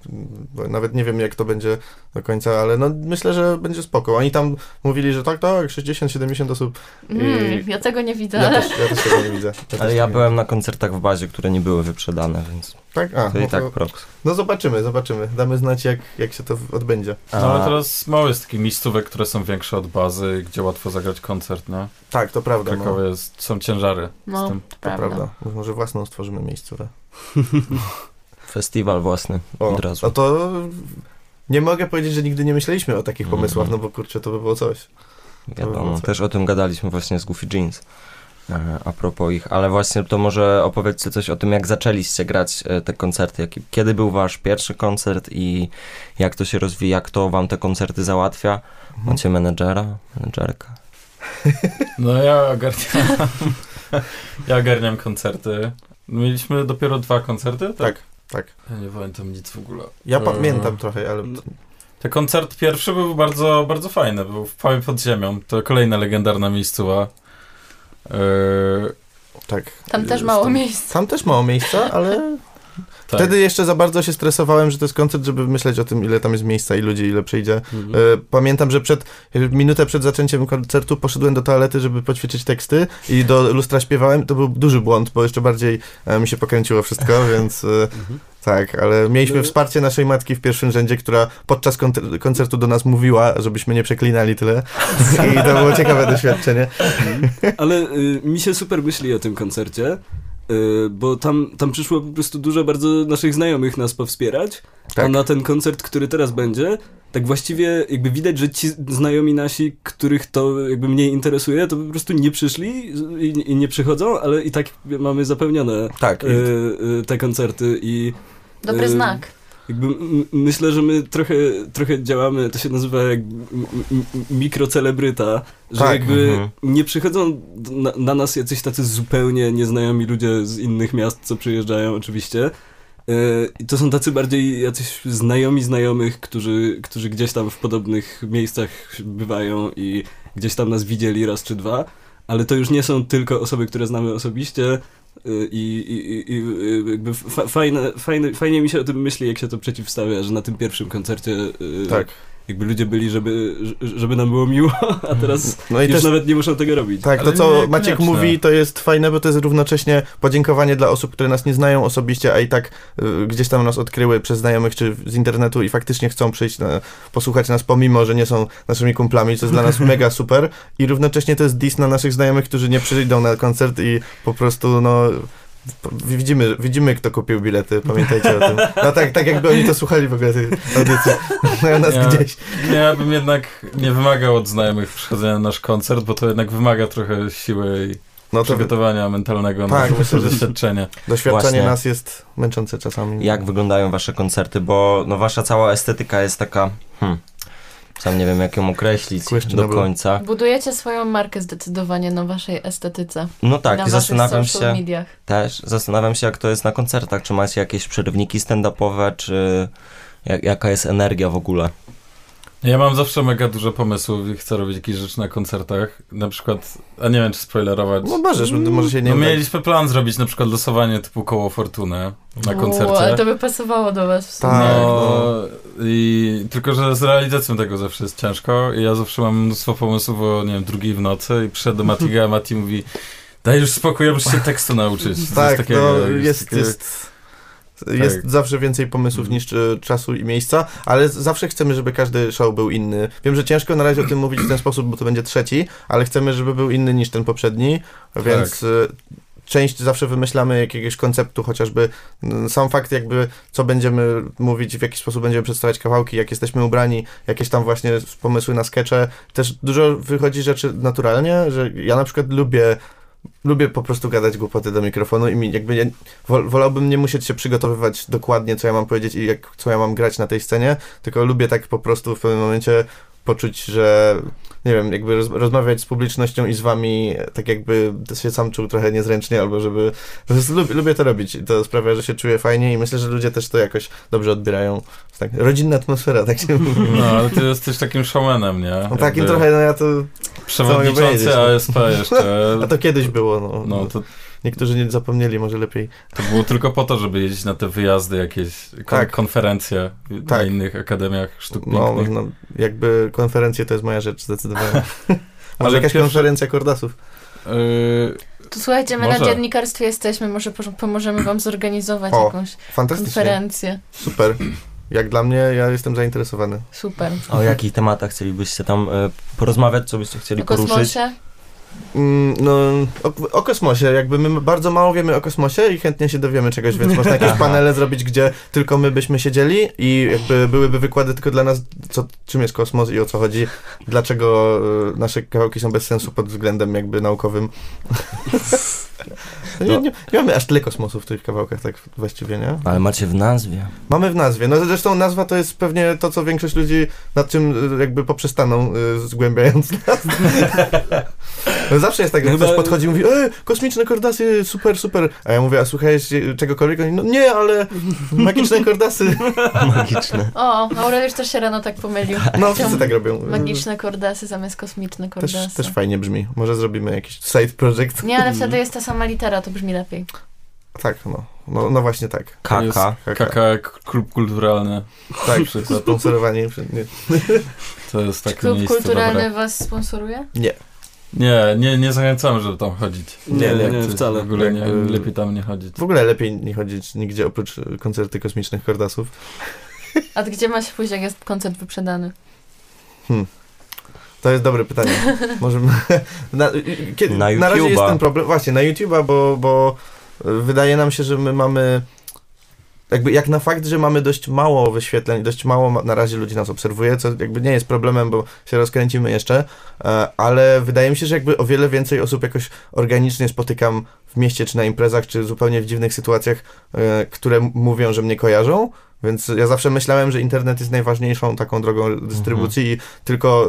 Speaker 3: bo nawet nie wiem jak to będzie do końca, ale no myślę, że będzie spoko. Oni tam mówili, że tak, tak, 60-70 osób.
Speaker 1: Mm,
Speaker 3: I-
Speaker 1: ja tego nie widzę,
Speaker 3: Ja
Speaker 1: ale...
Speaker 3: też, ja też tego nie widzę. też tak
Speaker 2: Ale
Speaker 3: tego
Speaker 2: ja
Speaker 3: nie
Speaker 2: byłem na koncertach w bazie, które nie były wyprzedane, więc
Speaker 3: Tak? A,
Speaker 2: to
Speaker 3: no,
Speaker 2: i tak
Speaker 3: to,
Speaker 2: proks.
Speaker 3: no zobaczymy, zobaczymy. Damy znać, jak, jak się to odbędzie.
Speaker 5: No ale
Speaker 2: A-
Speaker 5: teraz mało jest takich miejscówek, które są większe od bazy, gdzie łatwo zagrać koncert, nie?
Speaker 3: Tak, to
Speaker 5: W
Speaker 3: prawda. No,
Speaker 5: Krakowie jest, są ciężary
Speaker 1: [LAUGHS]
Speaker 5: z
Speaker 1: No,
Speaker 5: tym.
Speaker 3: to
Speaker 1: prawda.
Speaker 3: prawda. Może własną stworzymy miejscówę.
Speaker 2: Festiwal własny
Speaker 3: O,
Speaker 2: od razu.
Speaker 3: no to nie mogę powiedzieć, że nigdy nie myśleliśmy o takich
Speaker 2: Mhm.
Speaker 3: pomysłach, no bo kurczę, to by było coś.
Speaker 2: Wiadomo,
Speaker 3: co?
Speaker 2: też o tym gadaliśmy właśnie z Goofy Jeans. e, A propos ich, ale właśnie to może opowiedzcie coś o tym, jak zaczęliście grać e, te koncerty, jaki- kiedy był wasz pierwszy koncert i jak to się rozwija, kto wam te koncerty załatwia.
Speaker 5: Mhm.
Speaker 2: Macie menedżera, menedżerka.
Speaker 5: No ja ogarniam, [LAUGHS] ja ogarniam koncerty. Mieliśmy dopiero dwa koncerty, tak?
Speaker 3: Tak, tak.
Speaker 5: Ja nie pamiętam nic w ogóle.
Speaker 3: Ja
Speaker 5: E,
Speaker 3: pamiętam trochę, ale
Speaker 5: no. Ten koncert pierwszy był bardzo, bardzo fajny, był w Pałej pod ziemią. To kolejna legendarna miejscowa. E,
Speaker 3: tak.
Speaker 1: Tam też
Speaker 5: Jest
Speaker 1: mało
Speaker 5: tam-
Speaker 1: miejsc.
Speaker 3: Tam też mało miejsca, ale
Speaker 5: [LAUGHS] tak.
Speaker 3: wtedy jeszcze za bardzo się stresowałem, że to jest koncert, żeby myśleć o tym, ile tam jest miejsca i ludzi, ile przyjdzie.
Speaker 4: Mhm.
Speaker 3: E, Pamiętam, że przed, minutę przed zaczęciem koncertu poszedłem do toalety, żeby poćwiczyć teksty i do lustra śpiewałem. To był duży błąd, bo jeszcze bardziej e, mi się pokręciło wszystko, [LAUGHS] więc e,
Speaker 4: Mhm.
Speaker 3: tak, ale mieliśmy
Speaker 4: No.
Speaker 3: wsparcie naszej matki w pierwszym rzędzie, która podczas konter- koncertu do nas mówiła, żebyśmy nie przeklinali
Speaker 4: [LAUGHS]
Speaker 3: tyle i to było ciekawe doświadczenie.
Speaker 4: Ale y, mi się super myśli o tym koncercie, y, bo tam, tam przyszło po prostu dużo bardzo naszych znajomych nas powspierać, a
Speaker 3: Tak.
Speaker 4: na ten koncert, który teraz będzie, tak właściwie jakby widać, że ci znajomi nasi, których to jakby mniej interesuje, to po prostu nie przyszli i, i nie przychodzą, ale i tak mamy zapełnione
Speaker 3: Tak,
Speaker 4: y, y, te koncerty i
Speaker 1: Dobry
Speaker 4: y,
Speaker 1: znak.
Speaker 4: Jakby m- myślę, że my trochę, trochę działamy, to się nazywa jak m- m- m- mikrocelebryta, że
Speaker 3: Tak,
Speaker 4: jakby
Speaker 2: mhm.
Speaker 4: nie przychodzą d- na, na nas jacyś tacy zupełnie nieznajomi ludzie z innych miast, co przyjeżdżają oczywiście. Yy, i To są tacy bardziej jacyś znajomi znajomych, którzy, którzy gdzieś tam w podobnych miejscach bywają i gdzieś tam nas widzieli raz czy dwa, ale to już nie są tylko osoby, które znamy osobiście, Y, I, i, i i jakby fa- fajne, fajne, fajnie mi się o tym myśli, jak się to przeciwstawia, że na tym pierwszym koncercie y,
Speaker 3: tak.
Speaker 4: jakby ludzie byli, żeby, ż- żeby nam było miło, [LAUGHS] a teraz
Speaker 3: No i
Speaker 4: już
Speaker 3: też
Speaker 4: nawet nie muszą tego robić.
Speaker 3: Tak, to
Speaker 5: Ale
Speaker 3: co
Speaker 5: nie
Speaker 3: Maciek
Speaker 5: koniecznie.
Speaker 3: mówi, to jest fajne, bo to jest równocześnie podziękowanie dla osób, które nas nie znają osobiście, a i tak y, gdzieś tam nas odkryły przez znajomych czy z internetu i faktycznie chcą przyjść, na, posłuchać nas, pomimo, że nie są naszymi kumplami, co jest dla nas
Speaker 5: [LAUGHS]
Speaker 3: mega super. I równocześnie to jest diss na naszych znajomych, którzy nie przyjdą na koncert i po prostu, no... po- Widzimy, widzimy, kto kupił bilety, pamiętajcie o tym. No tak, tak jakby oni to słuchali w ogóle tej audycji. [LAUGHS] Mają nas
Speaker 5: Ja-
Speaker 3: gdzieś.
Speaker 5: Ja bym jednak nie wymagał od znajomych przychodzenia na nasz koncert, bo to jednak wymaga trochę siły i
Speaker 3: No to
Speaker 5: przygotowania mentalnego
Speaker 3: Tak,
Speaker 5: na
Speaker 3: myślę, że-
Speaker 5: doświadczenie.
Speaker 3: doświadczenie
Speaker 2: Właśnie.
Speaker 3: nas jest męczące czasami.
Speaker 2: Jak wyglądają wasze koncerty, bo no, wasza cała estetyka jest taka, hmm, sam nie wiem jak ją określić do
Speaker 3: Questionable.
Speaker 2: końca.
Speaker 1: Budujecie swoją markę zdecydowanie na waszej estetyce.
Speaker 2: No tak,
Speaker 1: na
Speaker 2: i zastanawiam
Speaker 1: waszych social
Speaker 2: się,
Speaker 1: mediach.
Speaker 2: Też zastanawiam się, jak to jest na koncertach. Czy macie jakieś przerywniki stand-upowe, czy jak, jaka jest energia w ogóle?
Speaker 5: Ja mam zawsze mega dużo pomysłów i chcę robić jakieś rzeczy na koncertach. Na przykład, a nie wiem czy spoilerować.
Speaker 3: No tak. możesz, może się nie
Speaker 5: No
Speaker 3: udać.
Speaker 5: mieliśmy plan zrobić na przykład losowanie typu koło fortuny na koncercie.
Speaker 1: O, ale to by pasowało do was w sumie.
Speaker 3: Tak,
Speaker 5: no, i tylko, że z realizacją tego zawsze jest ciężko i ja zawsze mam mnóstwo pomysłów o, nie wiem, drugiej w nocy i przyszedł do Matiga, a Mati mówi daj już spokój, ja muszę się tekstu nauczyć. Coś
Speaker 3: Tak,
Speaker 5: takiego,
Speaker 3: no,
Speaker 5: jakieś
Speaker 3: jest,
Speaker 5: takie- Tak.
Speaker 3: jest, jest zawsze więcej pomysłów
Speaker 5: Mhm.
Speaker 3: niż e, czasu i miejsca, ale z- zawsze chcemy, żeby każdy show był inny. Wiem, że ciężko na razie o tym mówić w ten sposób, bo to będzie trzeci, ale chcemy, żeby był inny niż ten poprzedni, więc
Speaker 5: Tak.
Speaker 3: e, część zawsze wymyślamy jakiegoś konceptu, chociażby m, sam fakt jakby, co będziemy mówić, w jaki sposób będziemy przedstawiać kawałki, jak jesteśmy ubrani, jakieś tam właśnie pomysły na skecze. Też dużo wychodzi rzeczy naturalnie, że ja na przykład lubię lubię po prostu gadać głupoty do mikrofonu i mi jakby ja, wol, wolałbym nie musieć się przygotowywać dokładnie, co ja mam powiedzieć i jak, co ja mam grać na tej scenie, tylko lubię tak po prostu w pewnym momencie poczuć, że nie wiem, jakby roz, rozmawiać z publicznością i z wami e, tak jakby się sam czuł trochę niezręcznie albo żeby... Po prostu lubię, lubię to robić i to sprawia, że się czuję fajnie i myślę, że ludzie też to jakoś dobrze odbierają. Tak, rodzinna atmosfera, tak się mówi.
Speaker 5: No, ale ty jesteś takim showmanem, nie?
Speaker 3: No, takim
Speaker 5: Jakby
Speaker 3: trochę, no ja to... powiedzieć,
Speaker 5: Przewodniczący
Speaker 3: no.
Speaker 5: ASP jeszcze.
Speaker 3: [LAUGHS] A to kiedyś było, no.
Speaker 5: No, to,
Speaker 3: Niektórzy nie zapomnieli, może lepiej.
Speaker 5: to było tylko po to, żeby jeździć na te wyjazdy jakieś, kon-
Speaker 3: Tak.
Speaker 5: konferencje na
Speaker 3: Tak.
Speaker 5: innych akademiach sztuk
Speaker 3: No,
Speaker 5: pięknych.
Speaker 3: no, jakby konferencje to jest moja rzecz zdecydowanie.
Speaker 5: Ale
Speaker 3: Może jakaś
Speaker 5: pierwsze-
Speaker 3: konferencja kordasów. no.
Speaker 5: Yy,
Speaker 1: To słuchajcie, my na
Speaker 5: Może.
Speaker 1: dziennikarstwie jesteśmy, może po- pomożemy wam zorganizować
Speaker 3: O,
Speaker 1: jakąś
Speaker 3: Fantastycznie.
Speaker 1: konferencję.
Speaker 3: Super. Jak dla mnie, ja jestem zainteresowany.
Speaker 1: Super.
Speaker 2: O jakich tematach chcielibyście tam e, porozmawiać, co byście chcieli
Speaker 1: O
Speaker 2: poruszyć?
Speaker 1: kosmosie?
Speaker 3: Mm, no, o, o kosmosie, jakby my bardzo mało wiemy o kosmosie i chętnie się dowiemy czegoś, więc można jakieś
Speaker 2: Aha.
Speaker 3: panele zrobić, gdzie tylko my byśmy siedzieli i jakby byłyby wykłady tylko dla nas, co, czym jest kosmos i o co chodzi, dlaczego y, nasze kawałki są bez sensu pod względem jakby naukowym. No nie, nie, nie mamy aż tyle kosmosu w tych kawałkach, tak właściwie, nie?
Speaker 2: Ale macie w nazwie.
Speaker 3: Mamy w nazwie. No zresztą nazwa to jest pewnie to, co większość ludzi nad czym y, jakby poprzestaną, y, zgłębiając [LAUGHS] nas. No zawsze jest tak, jak
Speaker 4: Chyba-
Speaker 3: ktoś podchodzi i mówi, e, kosmiczne kordasy, super, super. A ja mówię, a słuchałeś y, czegokolwiek? Oni, no nie, ale magiczne
Speaker 1: [LAUGHS]
Speaker 3: kordasy.
Speaker 2: Magiczne.
Speaker 1: O, Aureliusz też się rano tak pomylił.
Speaker 3: No wszyscy tak robią. Y,
Speaker 1: Magiczne kordasy zamiast kosmiczne kordasy.
Speaker 3: Też, też fajnie brzmi. Może zrobimy jakiś side project.
Speaker 1: Nie, ale wtedy jest ta sama litera, to brzmi lepiej.
Speaker 3: Tak, no. No, no właśnie tak.
Speaker 5: To jest
Speaker 2: Kaka.
Speaker 3: Kaka.
Speaker 5: KK Klub Kulturalny.
Speaker 3: Tak,
Speaker 5: przykład.
Speaker 3: sponsorowanie. Nie.
Speaker 5: To jest
Speaker 1: Czy
Speaker 5: takie
Speaker 1: klub
Speaker 5: miejsce
Speaker 1: kulturalny
Speaker 5: dobre.
Speaker 1: was sponsoruje?
Speaker 5: Nie, nie, nie zachęcam, żeby tam chodzić.
Speaker 4: Nie, nie, nie,
Speaker 5: Ty W
Speaker 4: wcale.
Speaker 5: ogóle nie,
Speaker 3: Jakby-
Speaker 5: lepiej tam nie chodzić.
Speaker 3: W ogóle lepiej nie chodzić nigdzie oprócz y, koncerty kosmicznych kordasów.
Speaker 1: A gdzie ma się pójść, jak jest koncert wyprzedany?
Speaker 3: To jest dobre pytanie. Możemy. [LAUGHS] Na, y, y, kiedy,
Speaker 2: Na
Speaker 3: na, razie jest
Speaker 2: YouTube'a.
Speaker 3: ten problem. Właśnie, na YouTube'a, bo, bo y, wydaje nam się, że my mamy. Jakby jak na fakt, że mamy dość mało wyświetleń, dość mało ma- na razie ludzi nas obserwuje, co jakby nie jest problemem, bo się rozkręcimy jeszcze, e, ale wydaje mi się, że jakby o wiele więcej osób jakoś organicznie spotykam w mieście czy na imprezach, czy zupełnie w dziwnych sytuacjach, e, które m- mówią, że mnie kojarzą, więc ja zawsze myślałem, że internet jest najważniejszą taką drogą dystrybucji
Speaker 5: Mhm.
Speaker 3: i tylko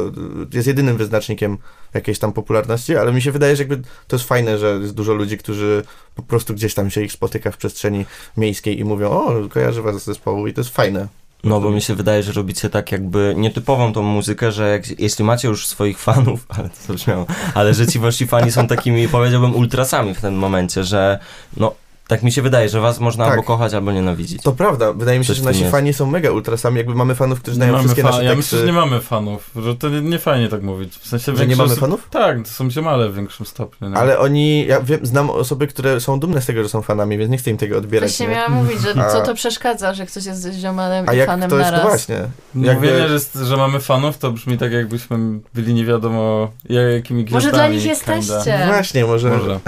Speaker 3: y, jest jedynym wyznacznikiem jakiejś tam popularności, ale mi się wydaje, że jakby to jest fajne, że jest dużo ludzi, którzy po prostu gdzieś tam się ich spotyka w przestrzeni miejskiej i mówią, o, kojarzę was z zespołu i to jest fajne.
Speaker 2: No bo mi się wydaje, że robicie tak jakby nietypową tą muzykę, że jak, jeśli macie już swoich fanów, [LAUGHS] ale to zabrzmiało, ale że ci wasi fani są takimi, powiedziałbym, ultrasami w tym momencie, że no tak mi się wydaje, że was można
Speaker 3: Tak.
Speaker 2: albo kochać, albo nienawidzić.
Speaker 3: To prawda, wydaje mi się,
Speaker 2: Coś
Speaker 3: że
Speaker 2: w tym
Speaker 3: nasi
Speaker 2: jest.
Speaker 3: fani są mega ultrasami, jakby mamy fanów, którzy znają
Speaker 5: mamy
Speaker 3: wszystkie
Speaker 5: fa-
Speaker 3: nasze
Speaker 5: ja myślę, że
Speaker 3: teksty.
Speaker 5: nie mamy fanów, że to nie, nie fajnie tak mówić. W sensie
Speaker 3: że nie
Speaker 5: większość
Speaker 3: mamy
Speaker 5: osób-
Speaker 3: fanów?
Speaker 5: Tak, to są ziomale w większym stopniu. Nie?
Speaker 3: Ale oni, ja wiem, znam osoby, które są dumne z tego, że są fanami, więc nie chcę im tego odbierać.
Speaker 1: Właśnie
Speaker 3: nie?
Speaker 1: miałam mówić, że
Speaker 3: A-
Speaker 1: co to przeszkadza, że ktoś jest ziomalem
Speaker 3: A
Speaker 1: i
Speaker 3: jak
Speaker 1: fanem
Speaker 3: ktoś, to no
Speaker 1: naraz.
Speaker 3: właśnie. jakby-
Speaker 5: Mówienie, że, jest- że mamy fanów, to brzmi tak, jakbyśmy byli nie wiadomo ja- jakimi gwiazdami.
Speaker 1: Może dla nich
Speaker 5: kinda.
Speaker 1: jesteście.
Speaker 3: Właśnie,
Speaker 5: Może.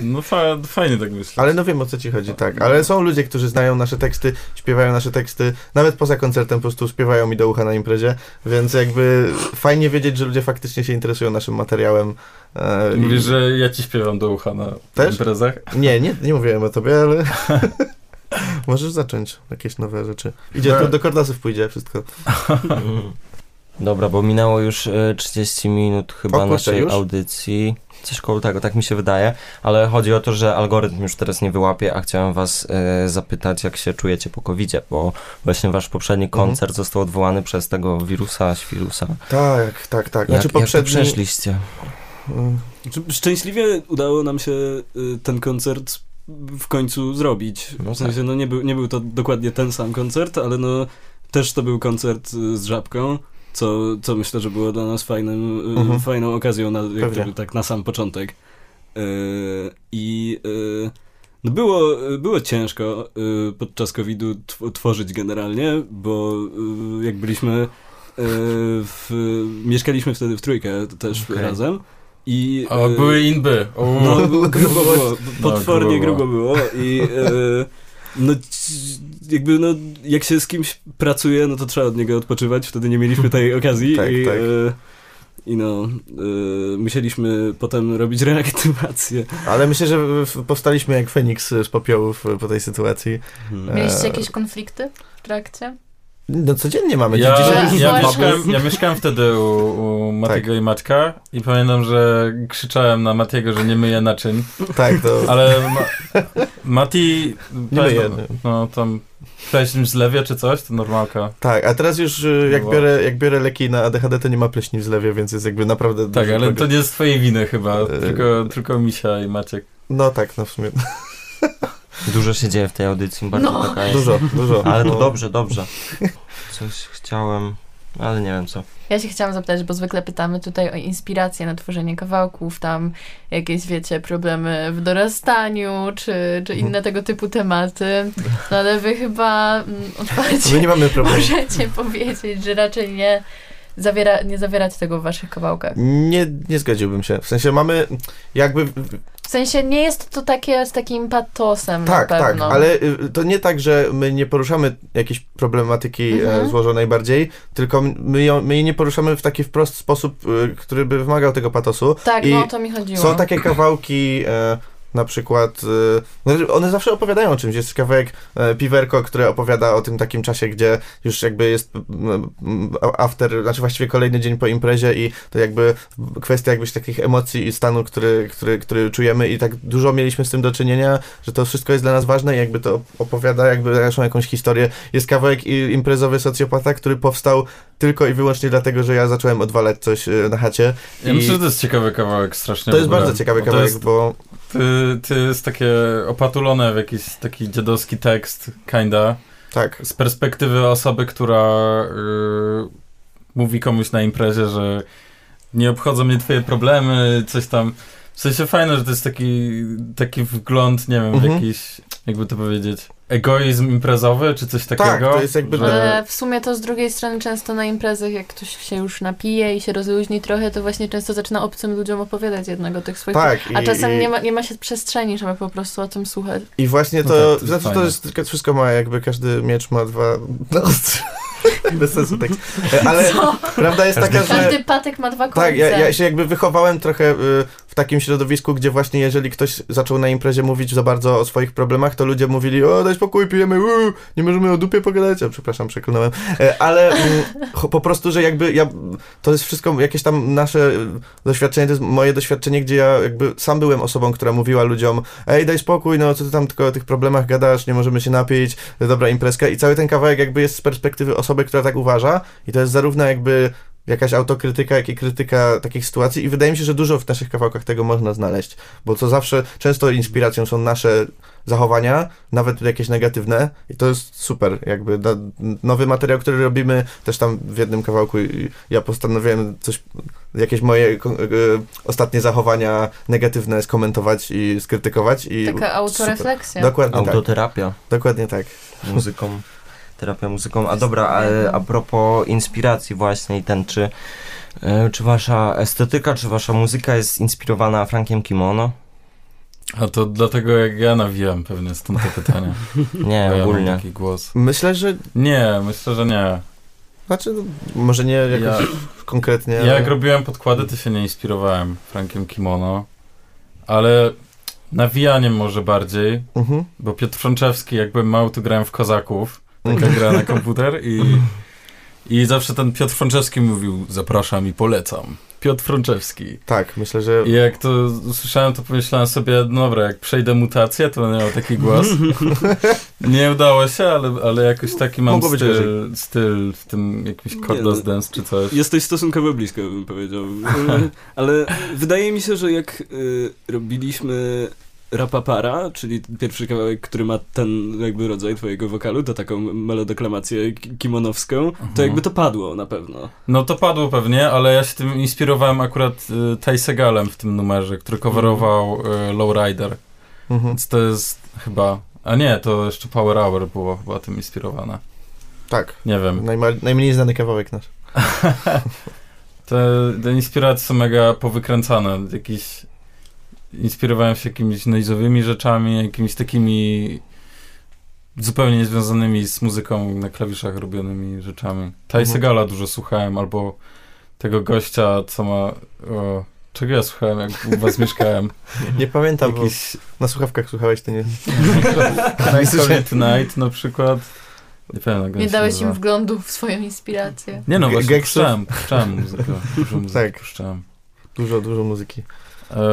Speaker 5: No fa- fajnie tak myślę.
Speaker 3: Ale no wiem o co ci chodzi, tak. Ale są ludzie, którzy znają nasze teksty, śpiewają nasze teksty, nawet poza koncertem po prostu śpiewają mi do ucha na imprezie, więc jakby fajnie wiedzieć, że ludzie faktycznie się interesują naszym materiałem. E,
Speaker 5: Mówisz, że ja ci śpiewam do ucha na
Speaker 3: Też?
Speaker 5: imprezach.
Speaker 3: Nie, nie, nie mówiłem o tobie, ale... [LAUGHS] Możesz zacząć jakieś nowe rzeczy. Idzie,
Speaker 5: No.
Speaker 3: to do kordasów pójdzie wszystko.
Speaker 2: [LAUGHS] Dobra, bo minęło już e, 30 minut chyba
Speaker 3: O kurczę,
Speaker 2: naszej
Speaker 3: już?
Speaker 2: audycji. Coś koło tego, tak mi się wydaje, ale chodzi o to, że algorytm już teraz nie wyłapie, a chciałem was e, zapytać, jak się czujecie po covid bo właśnie wasz poprzedni
Speaker 3: Mhm.
Speaker 2: koncert został odwołany przez tego wirusa, świrusa.
Speaker 3: Tak, tak,
Speaker 2: Jak,
Speaker 3: tak. Znaczy
Speaker 2: jak to
Speaker 3: poprzedni...
Speaker 2: przeszliście?
Speaker 3: Mm,
Speaker 4: Czy- Szczęśliwie udało nam się y, ten koncert w końcu zrobić.
Speaker 2: No
Speaker 3: tak.
Speaker 4: W sensie, no nie był, nie był to dokładnie ten sam koncert, ale no też to był koncert y, z Żabką, co, co myślę, że było dla nas fajnym, y,
Speaker 3: Mhm.
Speaker 4: fajną okazją, na, jak
Speaker 3: Pewnie.
Speaker 4: gdyby tak na sam początek. Y, I y, no było, y, było ciężko y, podczas COVID-u tw- tworzyć generalnie, bo y, jak byliśmy y, w, mieszkaliśmy wtedy w trójkę też
Speaker 2: Okej.
Speaker 4: razem i
Speaker 5: O,
Speaker 4: y,
Speaker 5: były inby. O,
Speaker 4: no, [LAUGHS] grubo było. Potwornie
Speaker 5: No, grubo
Speaker 4: grubo było i e, no c- jakby no, jak [LAUGHS] Tak, się z kimś pracuje, no to trzeba od niego odpoczywać, wtedy nie mieliśmy tej okazji
Speaker 3: Tak,
Speaker 4: i
Speaker 3: tak.
Speaker 4: e, I no, y, musieliśmy potem robić [LAUGHS] reaktywację.
Speaker 3: Ale myślę, że w- powstaliśmy jak Feniks z popiołów po tej sytuacji.
Speaker 4: Mhm.
Speaker 1: Mieliście
Speaker 3: Eee.
Speaker 1: jakieś konflikty w trakcie?
Speaker 3: No codziennie mamy.
Speaker 5: Ja,
Speaker 3: Dzisiaj
Speaker 1: Że-
Speaker 3: już
Speaker 5: ja,
Speaker 3: mamy.
Speaker 1: Zwłaszcza-
Speaker 5: mieszkałem, ja mieszkałem wtedy u, u Matiego
Speaker 3: Tak.
Speaker 5: i Maćka i pamiętam, że krzyczałem na Matiego, że nie myje naczyń,
Speaker 3: Tak, to
Speaker 5: ale ma, Mati...
Speaker 3: nie my jedno.
Speaker 5: No tam pleśń w zlewie czy coś, to normalka.
Speaker 3: Tak, a teraz już y,
Speaker 5: No
Speaker 3: jak
Speaker 5: bo-
Speaker 3: biorę, jak biorę leki na ADHD, to nie ma pleśni w zlewie, więc jest jakby naprawdę...
Speaker 5: Tak,
Speaker 3: duży
Speaker 5: ale to
Speaker 3: progres.
Speaker 5: nie z twojej winy chyba,
Speaker 3: Eee.
Speaker 5: tylko, tylko Misia i Maciek.
Speaker 3: No tak, no w
Speaker 2: [LAUGHS]
Speaker 3: sumie.
Speaker 2: Dużo się dzieje w tej audycji, bardzo
Speaker 1: No.
Speaker 2: taka jest.
Speaker 3: Dużo, dużo.
Speaker 2: Ale to
Speaker 3: No.
Speaker 2: dobrze, dobrze. Coś chciałem, ale nie wiem co.
Speaker 1: Ja się chciałam zapytać, bo zwykle pytamy tutaj o inspirację na tworzenie kawałków, tam jakieś, wiecie, problemy w dorastaniu, czy, czy inne tego typu tematy, no ale wy chyba mm,
Speaker 3: My nie
Speaker 1: otwarcie
Speaker 3: mamy problemu.
Speaker 1: możecie powiedzieć, że raczej nie, zawiera, nie zawieracie tego w waszych kawałkach.
Speaker 3: Nie, nie zgodziłbym się. W sensie mamy jakby...
Speaker 1: W sensie nie jest to takie z takim patosem
Speaker 3: Tak,
Speaker 1: na
Speaker 3: tak,
Speaker 1: pewno.
Speaker 3: ale y, to nie tak, że my nie poruszamy jakiejś problematyki
Speaker 1: Mhm.
Speaker 3: e, złożonej bardziej, tylko my, ją, my jej nie poruszamy w taki wprost sposób, y, który by wymagał tego patosu.
Speaker 1: Tak,
Speaker 3: I
Speaker 1: no o to mi chodziło.
Speaker 3: Są takie kawałki, e, na przykład, e, no, one zawsze opowiadają o czymś. Jest kawałek e, Piwerko, które opowiada o tym takim czasie, gdzie już jakby jest mm, mm, after, znaczy właściwie kolejny dzień po imprezie i to jakby kwestia jakbyś takich emocji i stanu, który, który, który czujemy i tak dużo mieliśmy z tym do czynienia, że to wszystko jest dla nas ważne i jakby to opowiada jakby naszą jakąś historię. Jest kawałek i- imprezowy socjopata, który powstał tylko i wyłącznie dlatego, że ja zacząłem odwalać coś e, na chacie.
Speaker 5: Ja
Speaker 3: I-
Speaker 5: myślę, że to jest ciekawy kawałek strasznie.
Speaker 3: To
Speaker 5: w
Speaker 3: jest
Speaker 5: ogóle.
Speaker 3: bardzo ciekawy
Speaker 5: Bo
Speaker 3: kawałek,
Speaker 5: To jest,
Speaker 3: bo
Speaker 5: ty, ty jest takie opatulone w jakiś taki dziadowski tekst, kinda.
Speaker 3: tak.
Speaker 5: z perspektywy osoby, która y, mówi komuś na imprezie, że nie obchodzą mnie twoje problemy, coś tam. W sensie fajne, że to jest taki, taki wgląd, nie wiem, w
Speaker 3: Mhm.
Speaker 5: jakiś, jakby to powiedzieć, egoizm imprezowy, czy coś takiego.
Speaker 3: Tak, to jest jakby-
Speaker 5: Że,
Speaker 1: Ale w sumie to z drugiej strony często na imprezach, jak ktoś się już napije i się rozluźni trochę, to właśnie często zaczyna obcym ludziom opowiadać jednego tych swoich...
Speaker 3: Tak.
Speaker 1: A czasem
Speaker 3: i,
Speaker 1: nie, ma, nie ma się przestrzeni, żeby po prostu o tym słuchać.
Speaker 3: I właśnie
Speaker 5: No
Speaker 3: to,
Speaker 5: tak, to jest
Speaker 3: znaczy
Speaker 5: fajne.
Speaker 3: to jest tylko wszystko ma jakby każdy miecz ma dwa [LAUGHS] no, bez sensu tekst. Ale
Speaker 1: Co?
Speaker 3: prawda jest taka, że
Speaker 1: Każdy patek ma dwa końce.
Speaker 3: tak, ja, ja się jakby wychowałem trochę y, w takim środowisku, gdzie właśnie jeżeli ktoś zaczął na imprezie mówić za bardzo o swoich problemach, to ludzie mówili, o daj spokój, pijemy, uu, nie możemy o dupie pogadać, a przepraszam, przeklnąłem, E, ale mm, cho- po prostu, że jakby ja, to jest wszystko jakieś tam nasze y, doświadczenie, to jest moje doświadczenie, gdzie ja jakby sam byłem osobą, która mówiła ludziom, ej daj spokój, no co ty tam tylko o tych problemach gadasz, nie możemy się napić, dobra imprezka i cały ten kawałek jakby jest z perspektywy osoby, która tak uważa i to jest zarówno jakby jakaś autokrytyka, jak i krytyka takich sytuacji i wydaje mi się, że dużo w naszych kawałkach tego można znaleźć, bo to zawsze często inspiracją są nasze zachowania, nawet jakieś negatywne i to jest super, jakby da, nowy materiał, który robimy, też tam w jednym kawałku i- ja postanowiłem coś, jakieś moje ko- e, ostatnie zachowania negatywne skomentować i skrytykować i
Speaker 1: Taka autorefleksja.
Speaker 3: Dokładnie tak,
Speaker 2: Autoterapia
Speaker 3: dokładnie tak.
Speaker 2: muzyką. Terapia muzyką. A dobra, a, a propos inspiracji właśnie i ten, czy, e, czy wasza estetyka, czy wasza muzyka jest inspirowana Frankiem Kimono?
Speaker 5: a to dlatego jak ja nawijam pewnie stąd te
Speaker 3: [LAUGHS]
Speaker 5: pytania.
Speaker 2: Nie,
Speaker 5: Bo ja mam
Speaker 2: ogólnie.
Speaker 5: taki głos.
Speaker 3: Myślę, że,
Speaker 5: Nie, myślę, że nie.
Speaker 3: znaczy, no, może nie
Speaker 5: Ja,
Speaker 3: jakoś konkretnie.
Speaker 5: Ja jak robiłem podkłady, to się nie inspirowałem Frankiem Kimono, ale nawijaniem może bardziej,
Speaker 3: Mhm.
Speaker 5: bo Piotr Frączewski, jakbym mał, to grałem w Kozaków, taka gra na komputer i, i zawsze ten Piotr Frączewski mówił, zapraszam i polecam. Piotr Frączewski.
Speaker 3: Tak, myślę, że
Speaker 5: I jak to słyszałem, to pomyślałem sobie, "No dobra, jak przejdę mutację, to będę miał taki głos. Nie udało się, ale, ale jakoś taki mam
Speaker 3: Mogło być
Speaker 5: styl, styl w tym jakimś
Speaker 4: Nie,
Speaker 5: Cordas
Speaker 4: no.
Speaker 5: Dance czy coś.
Speaker 4: Jesteś stosunkowo blisko, bym powiedział.
Speaker 3: [LAUGHS]
Speaker 4: E, Ale wydaje mi się, że jak y, robiliśmy Rapapara, czyli pierwszy kawałek, który ma ten jakby rodzaj twojego wokalu, to taką melodoklamację ki- kimonowską, to
Speaker 3: Mhm.
Speaker 4: jakby to padło na pewno.
Speaker 5: No to padło pewnie, ale ja się tym inspirowałem akurat y, Ty Segalem w tym numerze, który coverował y, Lowrider.
Speaker 3: mhm.
Speaker 5: Więc to jest chyba. A nie, to jeszcze Power Hour było chyba tym inspirowane.
Speaker 3: tak,
Speaker 5: Nie wiem.
Speaker 3: najma, najmniej znany kawałek nasz.
Speaker 5: Te, te inspiracje są mega powykręcane. Jakieś. Inspirowałem się jakimiś noizowymi rzeczami, jakimiś takimi zupełnie niezwiązanymi z muzyką na klawiszach robionymi rzeczami. Ty
Speaker 3: Mhm.
Speaker 5: Segala dużo słuchałem, albo tego gościa, co ma... O, czego ja słuchałem, jak u was mieszkałem?
Speaker 3: Nie pamiętam, bo
Speaker 5: Jakiś
Speaker 3: na słuchawkach słuchałeś, to nie...
Speaker 5: Night Night na przykład. Nie pamiętam. jak on
Speaker 1: Nie
Speaker 5: się
Speaker 1: dałeś
Speaker 5: nazywa.
Speaker 1: im wglądu w swoją inspirację.
Speaker 5: Nie no,
Speaker 3: Ge-
Speaker 5: właśnie
Speaker 3: gangstów?
Speaker 5: puszczałem, puszczałem muzykę.
Speaker 3: [LAUGHS]
Speaker 5: Dużo muzyki
Speaker 3: Tak.
Speaker 5: puszczałem.
Speaker 3: Dużo, dużo muzyki.
Speaker 5: E,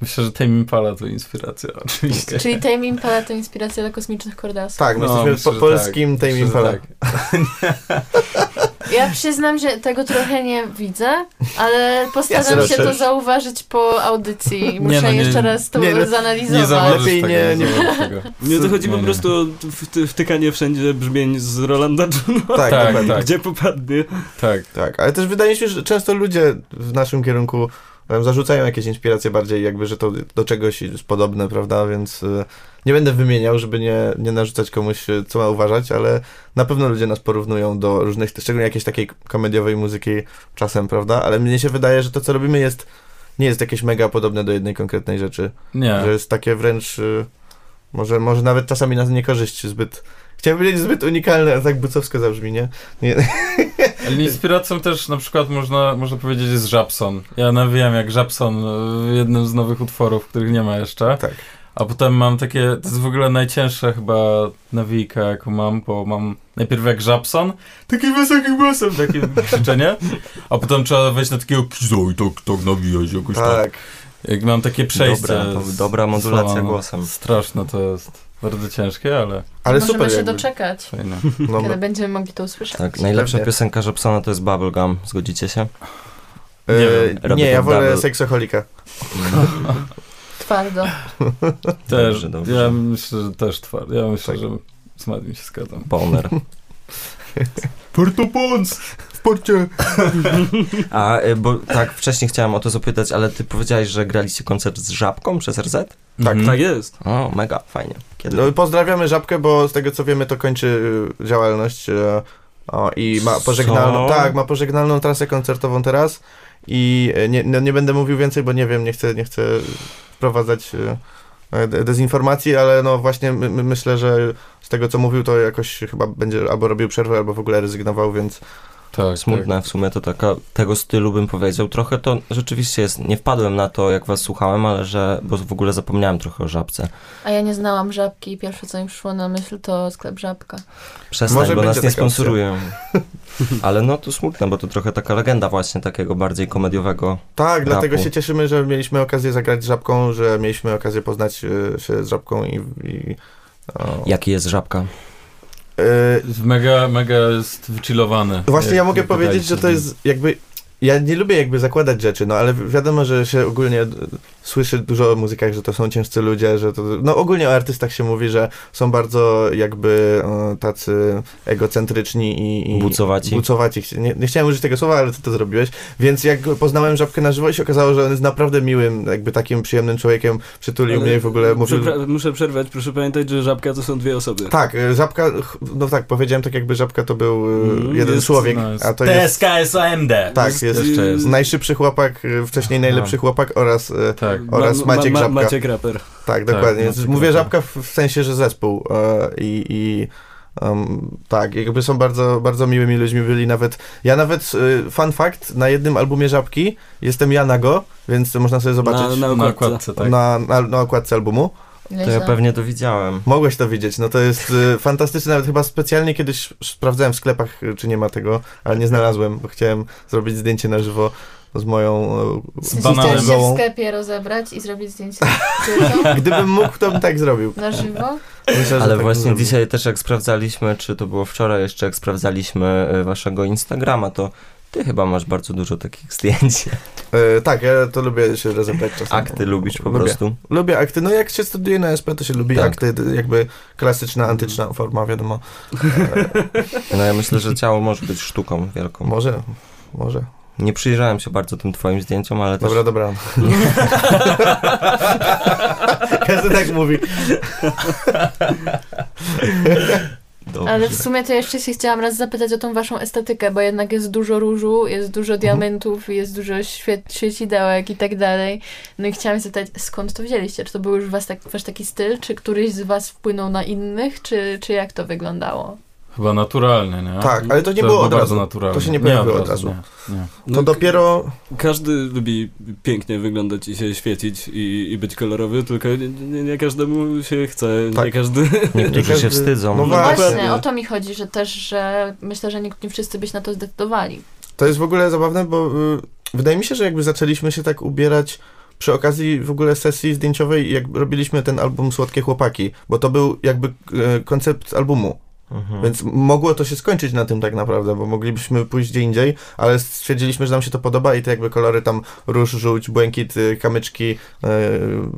Speaker 5: myślę, że Tame Impala to inspiracja, oczywiście.
Speaker 1: Czyli Tame Impala to inspiracja dla kosmicznych kordasów.
Speaker 3: Tak, my
Speaker 5: No,
Speaker 3: jesteśmy
Speaker 5: myślę,
Speaker 3: po
Speaker 5: że
Speaker 3: polskim
Speaker 5: Myślę,
Speaker 3: Tame
Speaker 5: że
Speaker 3: Impala.
Speaker 5: tak.
Speaker 1: Ja przyznam, że tego trochę nie widzę, ale postaram
Speaker 3: Ja
Speaker 1: się to
Speaker 3: też.
Speaker 1: zauważyć po audycji. i Muszę
Speaker 5: Nie, no, nie-
Speaker 1: jeszcze raz to
Speaker 3: nie, nie
Speaker 5: Nie
Speaker 1: zanalizować.
Speaker 5: zauważysz
Speaker 3: Lepiej
Speaker 5: tego,
Speaker 3: nie- nie-
Speaker 5: zauważysz tego.
Speaker 4: Nie, to chodzi
Speaker 5: Nie,
Speaker 4: po
Speaker 5: nie.
Speaker 4: prostu o wty- wtykanie wszędzie brzmień z Rolanda Johna,
Speaker 3: Tak,
Speaker 5: Tak,
Speaker 3: dokładnie.
Speaker 5: tak.
Speaker 4: gdzie popadnie.
Speaker 5: Tak.
Speaker 3: Tak, ale też wydaje się, że często ludzie w naszym kierunku em, zarzucają jakieś inspiracje bardziej jakby, że to do czegoś jest podobne, prawda, więc y, nie będę wymieniał, żeby nie, nie narzucać komuś, y, co ma uważać, ale na pewno ludzie nas porównują do różnych, szczególnie jakiejś takiej komediowej muzyki czasem, prawda, ale mnie się wydaje, że to, co robimy jest, nie jest jakieś mega podobne do jednej konkretnej rzeczy,
Speaker 5: Nie.
Speaker 3: że jest takie wręcz, y, może, może nawet czasami nas niekorzyść zbyt, chciałem powiedzieć zbyt unikalne, ale tak bucowsko zabrzmi, nie?
Speaker 5: Ale inspiracją też na przykład można, można powiedzieć jest Żabson. Ja nawijam jak Żabson y, w jednym z nowych utworów, których nie ma jeszcze.
Speaker 3: Tak.
Speaker 5: A potem mam takie, to jest w ogóle najcięższa chyba nawijka, jaką mam, bo mam najpierw jak Żabson, takim wysokim głosem, takie krzyczenie, a potem trzeba wejść na takiego kizo i tak, tak nawijać jakoś tak. Jak mam takie przejście.
Speaker 2: Dobra, to
Speaker 5: z-
Speaker 2: dobra modulacja
Speaker 5: słowa, no,
Speaker 2: głosem.
Speaker 5: Straszne to jest. Bardzo ciężkie, ale
Speaker 3: Ale
Speaker 1: Możemy
Speaker 3: super
Speaker 1: się
Speaker 3: jakby.
Speaker 1: doczekać,
Speaker 5: fajne.
Speaker 3: No,
Speaker 1: kiedy będziemy mogli to usłyszeć.
Speaker 2: Tak, najlepsza
Speaker 3: Pewnie.
Speaker 2: piosenka Jobsona to jest Bubblegum, zgodzicie się?
Speaker 3: E,
Speaker 5: Nie wiem,
Speaker 2: robię
Speaker 3: nie, ja
Speaker 2: tak
Speaker 3: wolę
Speaker 2: double.
Speaker 3: seksoholika.
Speaker 1: Twardo.
Speaker 5: [LAUGHS] Też,
Speaker 2: Dobrze, dobrze.
Speaker 5: ja myślę, że też twardy. Ja myślę,
Speaker 3: Tak.
Speaker 5: że z Madim się zgadzam.
Speaker 2: Boner.
Speaker 5: Puerto Pons!
Speaker 3: W porcie.
Speaker 2: A, y, bo tak, wcześniej chciałem o to zapytać, ale ty powiedziałeś, że graliście koncert z Żabką przez RZ?
Speaker 5: Mhm.
Speaker 3: Tak,
Speaker 4: Tak jest.
Speaker 2: O, mega, fajnie. Kiedy?
Speaker 3: No, pozdrawiamy Żabkę, bo z tego co wiemy to kończy y, działalność e, o, i ma pożegnalną,
Speaker 2: Co?
Speaker 3: tak, ma pożegnalną trasę koncertową teraz i e, nie, no, nie będę mówił więcej, bo nie wiem, nie chcę, nie chcę wprowadzać e, e, de- dezinformacji, ale no właśnie my, my myślę, że z tego co mówił to jakoś chyba będzie albo robił przerwę, albo w ogóle rezygnował, więc
Speaker 5: Tak,
Speaker 2: Smutne w sumie to taka, tego stylu bym powiedział. Trochę to rzeczywiście jest, nie wpadłem na to, jak was słuchałem, ale że, bo w ogóle zapomniałem trochę o Żabce.
Speaker 1: A ja nie znałam żabki i pierwsze co mi przyszło na myśl to sklep żabka.
Speaker 2: Przestań,
Speaker 3: Może
Speaker 2: bo
Speaker 3: będzie
Speaker 2: nas nie
Speaker 3: taka opcja. [LAUGHS]
Speaker 2: sponsorują. Ale no to smutne, bo to trochę taka legenda właśnie takiego bardziej komediowego.
Speaker 3: Tak, dlatego
Speaker 2: rapu.
Speaker 3: się cieszymy, że mieliśmy okazję zagrać z Żabką, że mieliśmy okazję poznać y, się z Żabką i... i o.
Speaker 2: Jaki jest Żabka?
Speaker 3: Y,
Speaker 5: Jest Tak. Mega, mega jest wychillowany.
Speaker 3: No właśnie
Speaker 5: Jak-
Speaker 3: ja mogę
Speaker 5: jak gadaliście
Speaker 3: powiedzieć, że
Speaker 5: z
Speaker 3: to
Speaker 5: nim.
Speaker 3: jest jakby... Ja nie lubię jakby zakładać rzeczy, no ale wi- wiadomo, że się ogólnie y, słyszy dużo o muzykach, że to są ciężcy ludzie, że to... No ogólnie o artystach się mówi, że są bardzo jakby y, tacy egocentryczni i... i
Speaker 2: Bucowaci?
Speaker 3: Bucowaci. Chci- Nie, nie chciałem użyć tego słowa, ale ty to zrobiłeś. Więc jak go poznałem Żabkę na żywo i się okazało, że on jest naprawdę miłym, jakby takim przyjemnym człowiekiem, przytulił mnie i w ogóle mówił...
Speaker 4: Przepra- muszę przerwać, proszę pamiętać, że żabka to są dwie osoby.
Speaker 3: Tak, y, żabka, ch- no tak, powiedziałem tak jakby żabka to był y,
Speaker 4: Mm,
Speaker 3: jeden
Speaker 4: jest-
Speaker 3: człowiek,
Speaker 5: no, jest-
Speaker 3: a to jest
Speaker 5: TSKSAMD!
Speaker 3: Tak, jest-
Speaker 5: Jeszcze jest.
Speaker 3: najszybszy chłopak, y, wcześniej najlepszy chłopak oraz, y,
Speaker 5: Tak.
Speaker 3: oraz Maciek Żabka.
Speaker 4: Maciek Raper.
Speaker 3: tak, dokładnie,
Speaker 5: Maciek
Speaker 3: Więc mówię
Speaker 5: Raper.
Speaker 3: żabka w, w sensie, że zespół y, i... i em, tak, jakby są bardzo, bardzo miłymi ludźmi byli nawet, ja nawet y, fun fact, na jednym albumie Żabki jestem ja nago, więc można sobie
Speaker 4: Na,
Speaker 3: zobaczyć
Speaker 4: na
Speaker 5: Na
Speaker 4: okładce.
Speaker 5: okładce, tak.
Speaker 3: na, na, na okładce albumu.
Speaker 2: To ja pewnie to widziałem.
Speaker 3: Mogłeś to widzieć, no to jest y, fantastyczne, nawet chyba specjalnie kiedyś sprawdzałem w sklepach, y, czy nie ma tego, ale nie znalazłem, bo chciałem zrobić zdjęcie na żywo z moją... y,
Speaker 5: Z bananem.
Speaker 1: Chcesz się w sklepie rozebrać i zrobić zdjęcie z dziewczyną
Speaker 3: Gdybym mógł, to bym tak zrobił.
Speaker 1: na żywo?
Speaker 3: Myślę, że
Speaker 2: Ale
Speaker 3: tak
Speaker 2: właśnie
Speaker 3: bym zrobił.
Speaker 2: dzisiaj też jak sprawdzaliśmy, czy to było wczoraj jeszcze, jak sprawdzaliśmy y, waszego Instagrama, to ty chyba masz bardzo dużo takich [LAUGHS] zdjęć.
Speaker 3: Y, tak, ja to lubię się rozebrać czasem.
Speaker 2: Akty lubisz po
Speaker 3: Lubię.
Speaker 2: prostu.
Speaker 3: Lubię akty, no jak się studiuje na SP, to się lubi
Speaker 2: Tak.
Speaker 3: akty, d- jakby klasyczna, antyczna forma, wiadomo.
Speaker 2: No ja myślę, że ciało może być sztuką wielką.
Speaker 3: Może, może.
Speaker 2: Nie przyjrzałem się bardzo tym twoim zdjęciom, ale też...
Speaker 3: Dobra, dobra. [LAUGHS] Każdy tak mówi.
Speaker 2: Dobrze.
Speaker 1: Ale w sumie to jeszcze się chciałam raz zapytać o tą waszą estetykę, bo jednak jest dużo różu, jest dużo diamentów, jest dużo świe- świecidełek i tak dalej. No i chciałam zapytać, skąd to wzięliście? Czy to był już was tak, wasz taki styl? Czy któryś z was wpłynął na innych? Czy, czy jak to wyglądało?
Speaker 5: Chyba naturalnie, nie?
Speaker 3: Tak, ale to nie
Speaker 5: To
Speaker 3: było
Speaker 5: było
Speaker 3: od
Speaker 5: bardzo
Speaker 3: razu.
Speaker 5: naturalne.
Speaker 3: To się nie pojawiło od razu.
Speaker 5: Nie, nie.
Speaker 3: To
Speaker 4: No,
Speaker 2: Tak.
Speaker 3: dopiero...
Speaker 4: Każdy lubi pięknie wyglądać i się świecić i, i być kolorowy, tylko nie, nie, nie każdemu się chce, nie
Speaker 3: Tak.
Speaker 4: każdy...
Speaker 2: Niektórzy się
Speaker 3: Każdy-
Speaker 2: wstydzą.
Speaker 3: No
Speaker 1: No
Speaker 3: Właśnie.
Speaker 1: właśnie, o to mi chodzi, że też, że myślę, że nie, nie wszyscy byś na to zdecydowali.
Speaker 3: To jest w ogóle zabawne, bo y, wydaje mi się, że jakby zaczęliśmy się tak ubierać przy okazji w ogóle sesji zdjęciowej, jak robiliśmy ten album Słodkie Chłopaki, bo to był jakby e, koncept albumu,
Speaker 2: Mhm.
Speaker 3: więc mogło to się skończyć na tym tak naprawdę, bo moglibyśmy pójść gdzie indziej, ale stwierdziliśmy, że nam się to podoba i te jakby kolory tam róż, żółć, błękit, y, kamyczki, y,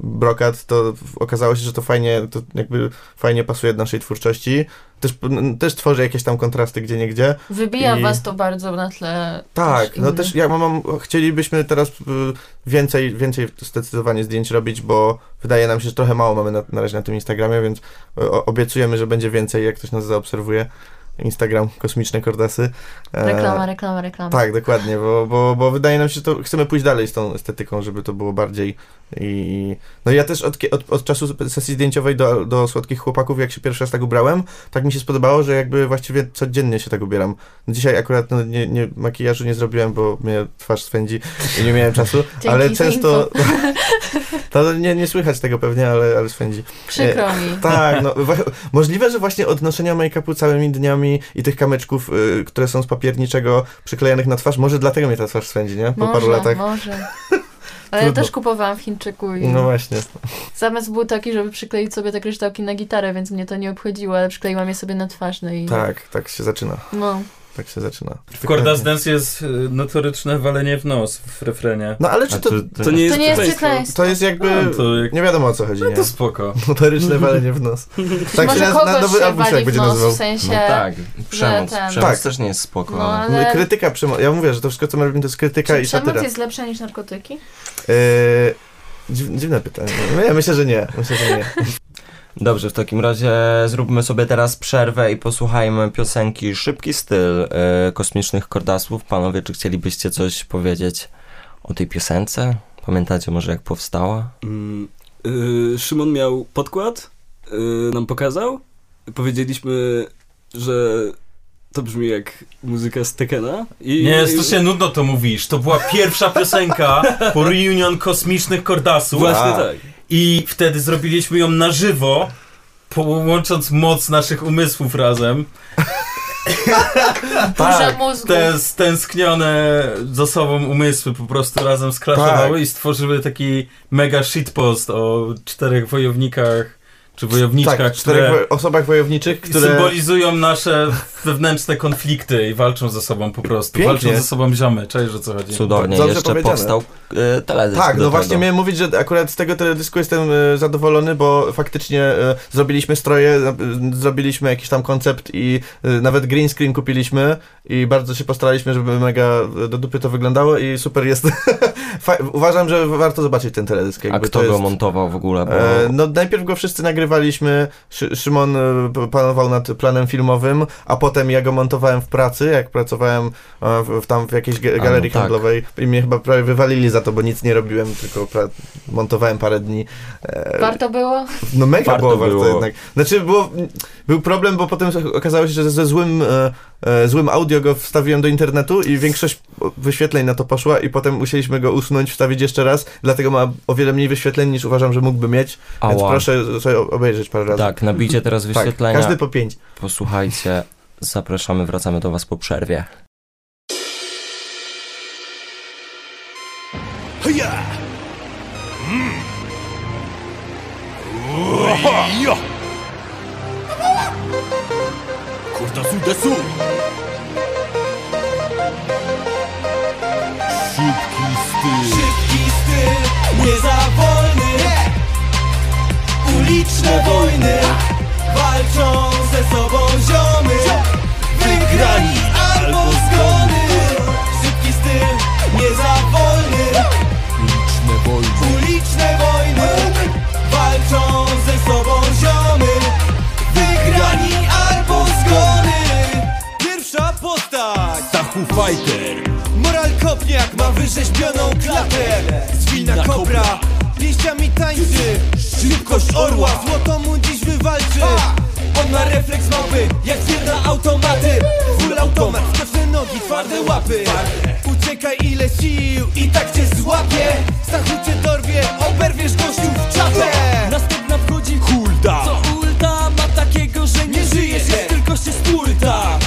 Speaker 3: brokat, to w- okazało się, że to fajnie, to jakby fajnie pasuje do naszej twórczości. Też, n- też tworzy jakieś tam kontrasty gdzie niegdzie,
Speaker 1: Wybija
Speaker 3: I-
Speaker 1: was to bardzo na tle.
Speaker 3: tak, no
Speaker 1: innych.
Speaker 3: też ja mam, chcielibyśmy teraz y, więcej, więcej zdecydowanie zdjęć robić, bo wydaje nam się, że trochę mało mamy na, na razie na tym Instagramie, więc y, o- obiecujemy, że będzie więcej, jak ktoś nas zaobserwuje. Instagram Kosmiczne Kordasy. E,
Speaker 1: Reklama, reklama, reklama.
Speaker 3: Tak, dokładnie, bo, bo, bo wydaje nam się, że to chcemy pójść dalej z tą estetyką, żeby to było bardziej i... No ja też od, kie- od, od czasu sesji zdjęciowej do, do Słodkich Chłopaków, jak się pierwszy raz tak ubrałem, tak mi się spodobało, że jakby właściwie codziennie się tak ubieram. Dzisiaj akurat no, nie, nie, makijażu nie zrobiłem, bo mnie twarz swędzi i nie miałem czasu,
Speaker 1: Dzięki
Speaker 3: ale
Speaker 1: za
Speaker 3: często... [LAUGHS] To nie, nie słychać tego pewnie, ale, ale swędzi.
Speaker 1: Przykro mi.
Speaker 3: e, Tak, no, wa- możliwe, że właśnie od noszenia make-upu całymi dniami i tych kamyczków, y, które są z papierniczego przyklejanych na twarz, może dlatego mnie ta twarz swędzi, nie? Po
Speaker 1: może,
Speaker 3: paru latach. [LAUGHS]
Speaker 1: może. Ale ja
Speaker 3: Trudno.
Speaker 1: też kupowałam w Chińczyku i
Speaker 3: No właśnie.
Speaker 1: zamysł był taki, żeby przykleić sobie te kryształki na gitarę, więc mnie to nie obchodziło, ale przykleiłam je sobie na twarz, no i...
Speaker 3: Tak, tak się zaczyna.
Speaker 1: No.
Speaker 3: Tak się zaczyna.
Speaker 5: W Kordas Dance jest y, notoryczne walenie w nos w refrenie.
Speaker 3: No ale czy
Speaker 2: A
Speaker 3: to,
Speaker 4: To nie jest
Speaker 1: To nie jest
Speaker 4: przekleństwo.
Speaker 1: przekleństwo.
Speaker 3: to jest jakby...
Speaker 5: No, to jak... no
Speaker 3: Nie wiadomo o co chodzi, nie? [LAUGHS]
Speaker 5: To spoko.
Speaker 3: Notoryczne walenie w
Speaker 1: [LAUGHS]
Speaker 3: nos. Tak
Speaker 1: No, Może
Speaker 3: się na,
Speaker 1: kogoś
Speaker 3: na nowy
Speaker 1: się
Speaker 3: album się
Speaker 1: wali
Speaker 3: tak
Speaker 1: w
Speaker 3: będzie
Speaker 1: nos,
Speaker 3: nazywał.
Speaker 1: w sensie...
Speaker 2: No tak, przemoc.
Speaker 1: ten-
Speaker 2: Przemoc
Speaker 3: Tak.
Speaker 2: też nie jest spoko,
Speaker 1: No,
Speaker 2: ale...
Speaker 1: ale...
Speaker 3: Krytyka przemocy. Ja mówię, że to wszystko, co my robimy, to jest krytyka
Speaker 1: Czy
Speaker 3: i
Speaker 1: przemoc
Speaker 3: satyra.
Speaker 1: jest lepsza niż narkotyki?
Speaker 3: Yy, dziw- dziwne pytanie. No, ja myślę, że nie. Myślę, że nie.
Speaker 2: Dobrze, w takim razie zróbmy sobie teraz przerwę i posłuchajmy piosenki Szybki styl y, kosmicznych kordasłów. Panowie, czy chcielibyście coś powiedzieć o tej piosence? Pamiętacie może jak powstała?
Speaker 4: [LAUGHS] Mm, y, Szymon miał podkład, y, nam pokazał. Powiedzieliśmy, że to brzmi jak muzyka z Tekena. I,
Speaker 5: Nie, strasznie nudno to mówisz. To była pierwsza piosenka po reunion kosmicznych kordasów.
Speaker 4: Właśnie
Speaker 3: A.
Speaker 4: tak.
Speaker 5: I wtedy zrobiliśmy ją na żywo, połącząc moc naszych umysłów razem.
Speaker 3: tak,
Speaker 1: Burza mózgu.
Speaker 5: Te stęsknione ze sobą umysły po prostu razem skraszowały
Speaker 3: Tak.
Speaker 5: i stworzyły taki mega shitpost o czterech wojownikach czy wojowniczkach,
Speaker 3: Tak, w
Speaker 5: które
Speaker 3: czterech wo- osobach wojowniczych, które...
Speaker 5: symbolizują nasze wewnętrzne konflikty i walczą ze sobą po prostu.
Speaker 3: Pięknie.
Speaker 5: Walczą ze sobą ziomy, czaj, że co chodzi.
Speaker 2: Cudownie,
Speaker 3: Dobrze
Speaker 2: jeszcze
Speaker 3: powiedziane.
Speaker 2: powstał y, teledysk
Speaker 3: Tak,
Speaker 2: do
Speaker 3: no
Speaker 2: tego.
Speaker 3: właśnie miałem mówić, że akurat z tego teledysku jestem e, zadowolony, bo faktycznie e, zrobiliśmy stroje, e, zrobiliśmy jakiś tam koncept i e, nawet green screen kupiliśmy i bardzo się postaraliśmy, żeby mega e, do dupy to wyglądało i super jest. [LAUGHS] Fa- Uważam, że warto zobaczyć ten teledysk.
Speaker 2: A
Speaker 3: jakby
Speaker 2: kto
Speaker 3: to
Speaker 2: go
Speaker 3: jest...
Speaker 2: montował w ogóle? Bo...
Speaker 3: E, No najpierw go wszyscy nagrywaliśmy, Szy- Szymon e, p- panował nad planem filmowym, a potem ja go montowałem w pracy, jak pracowałem e, w, w tam w jakiejś ge-
Speaker 2: no
Speaker 3: galerii
Speaker 2: tak.
Speaker 3: handlowej i mnie chyba prawie wywalili za to, bo nic nie robiłem, tylko pra- montowałem parę dni. E,
Speaker 1: Warto było?
Speaker 3: No mega
Speaker 2: warto
Speaker 3: było warto
Speaker 2: było.
Speaker 3: jednak. Znaczy było, był problem, bo potem okazało się, że ze złym, e, e, złym audio go wstawiłem do internetu i większość wyświetleń na to poszła i potem musieliśmy go usunąć, wstawić jeszcze raz, dlatego ma o wiele mniej wyświetleń niż uważam, że mógłby mieć. Więc
Speaker 2: Ała.
Speaker 3: proszę sobie obejrzeć parę razy.
Speaker 2: Tak, nabijcie teraz wyświetlenia.
Speaker 3: każdy po
Speaker 2: [LAUGHS]
Speaker 3: pięć.
Speaker 2: Posłuchajcie, zapraszamy, wracamy do Was po przerwie.
Speaker 6: Kordasu desu! Szybki styl! Szybki styl, nie za wolny! Uliczne wojny walczą ze sobą ziomy! Wygrani albo zgony! Szybki styl, nie za wolny! Uliczne wojny! Uliczne wojny walczą ze sobą ziomy! Wygrani albo zgony Pierwsza postać Stachu Fighter Moral kopniak ma wyrzeźbioną klatę Zwinna kobra Pięściami tańczy Szybkość orła Złoto mu dziś wywalczy On ma refleks małpy Jak pierda automaty Full automat, skoczne nogi, twarde łapy Uciekaj ile sił I tak cię złapie Stachu cię dorwie, oberwiesz gościu w czapę Następna wchodzi hulda Co ulta ma takiego, że nie, żyje się Tylko się stulta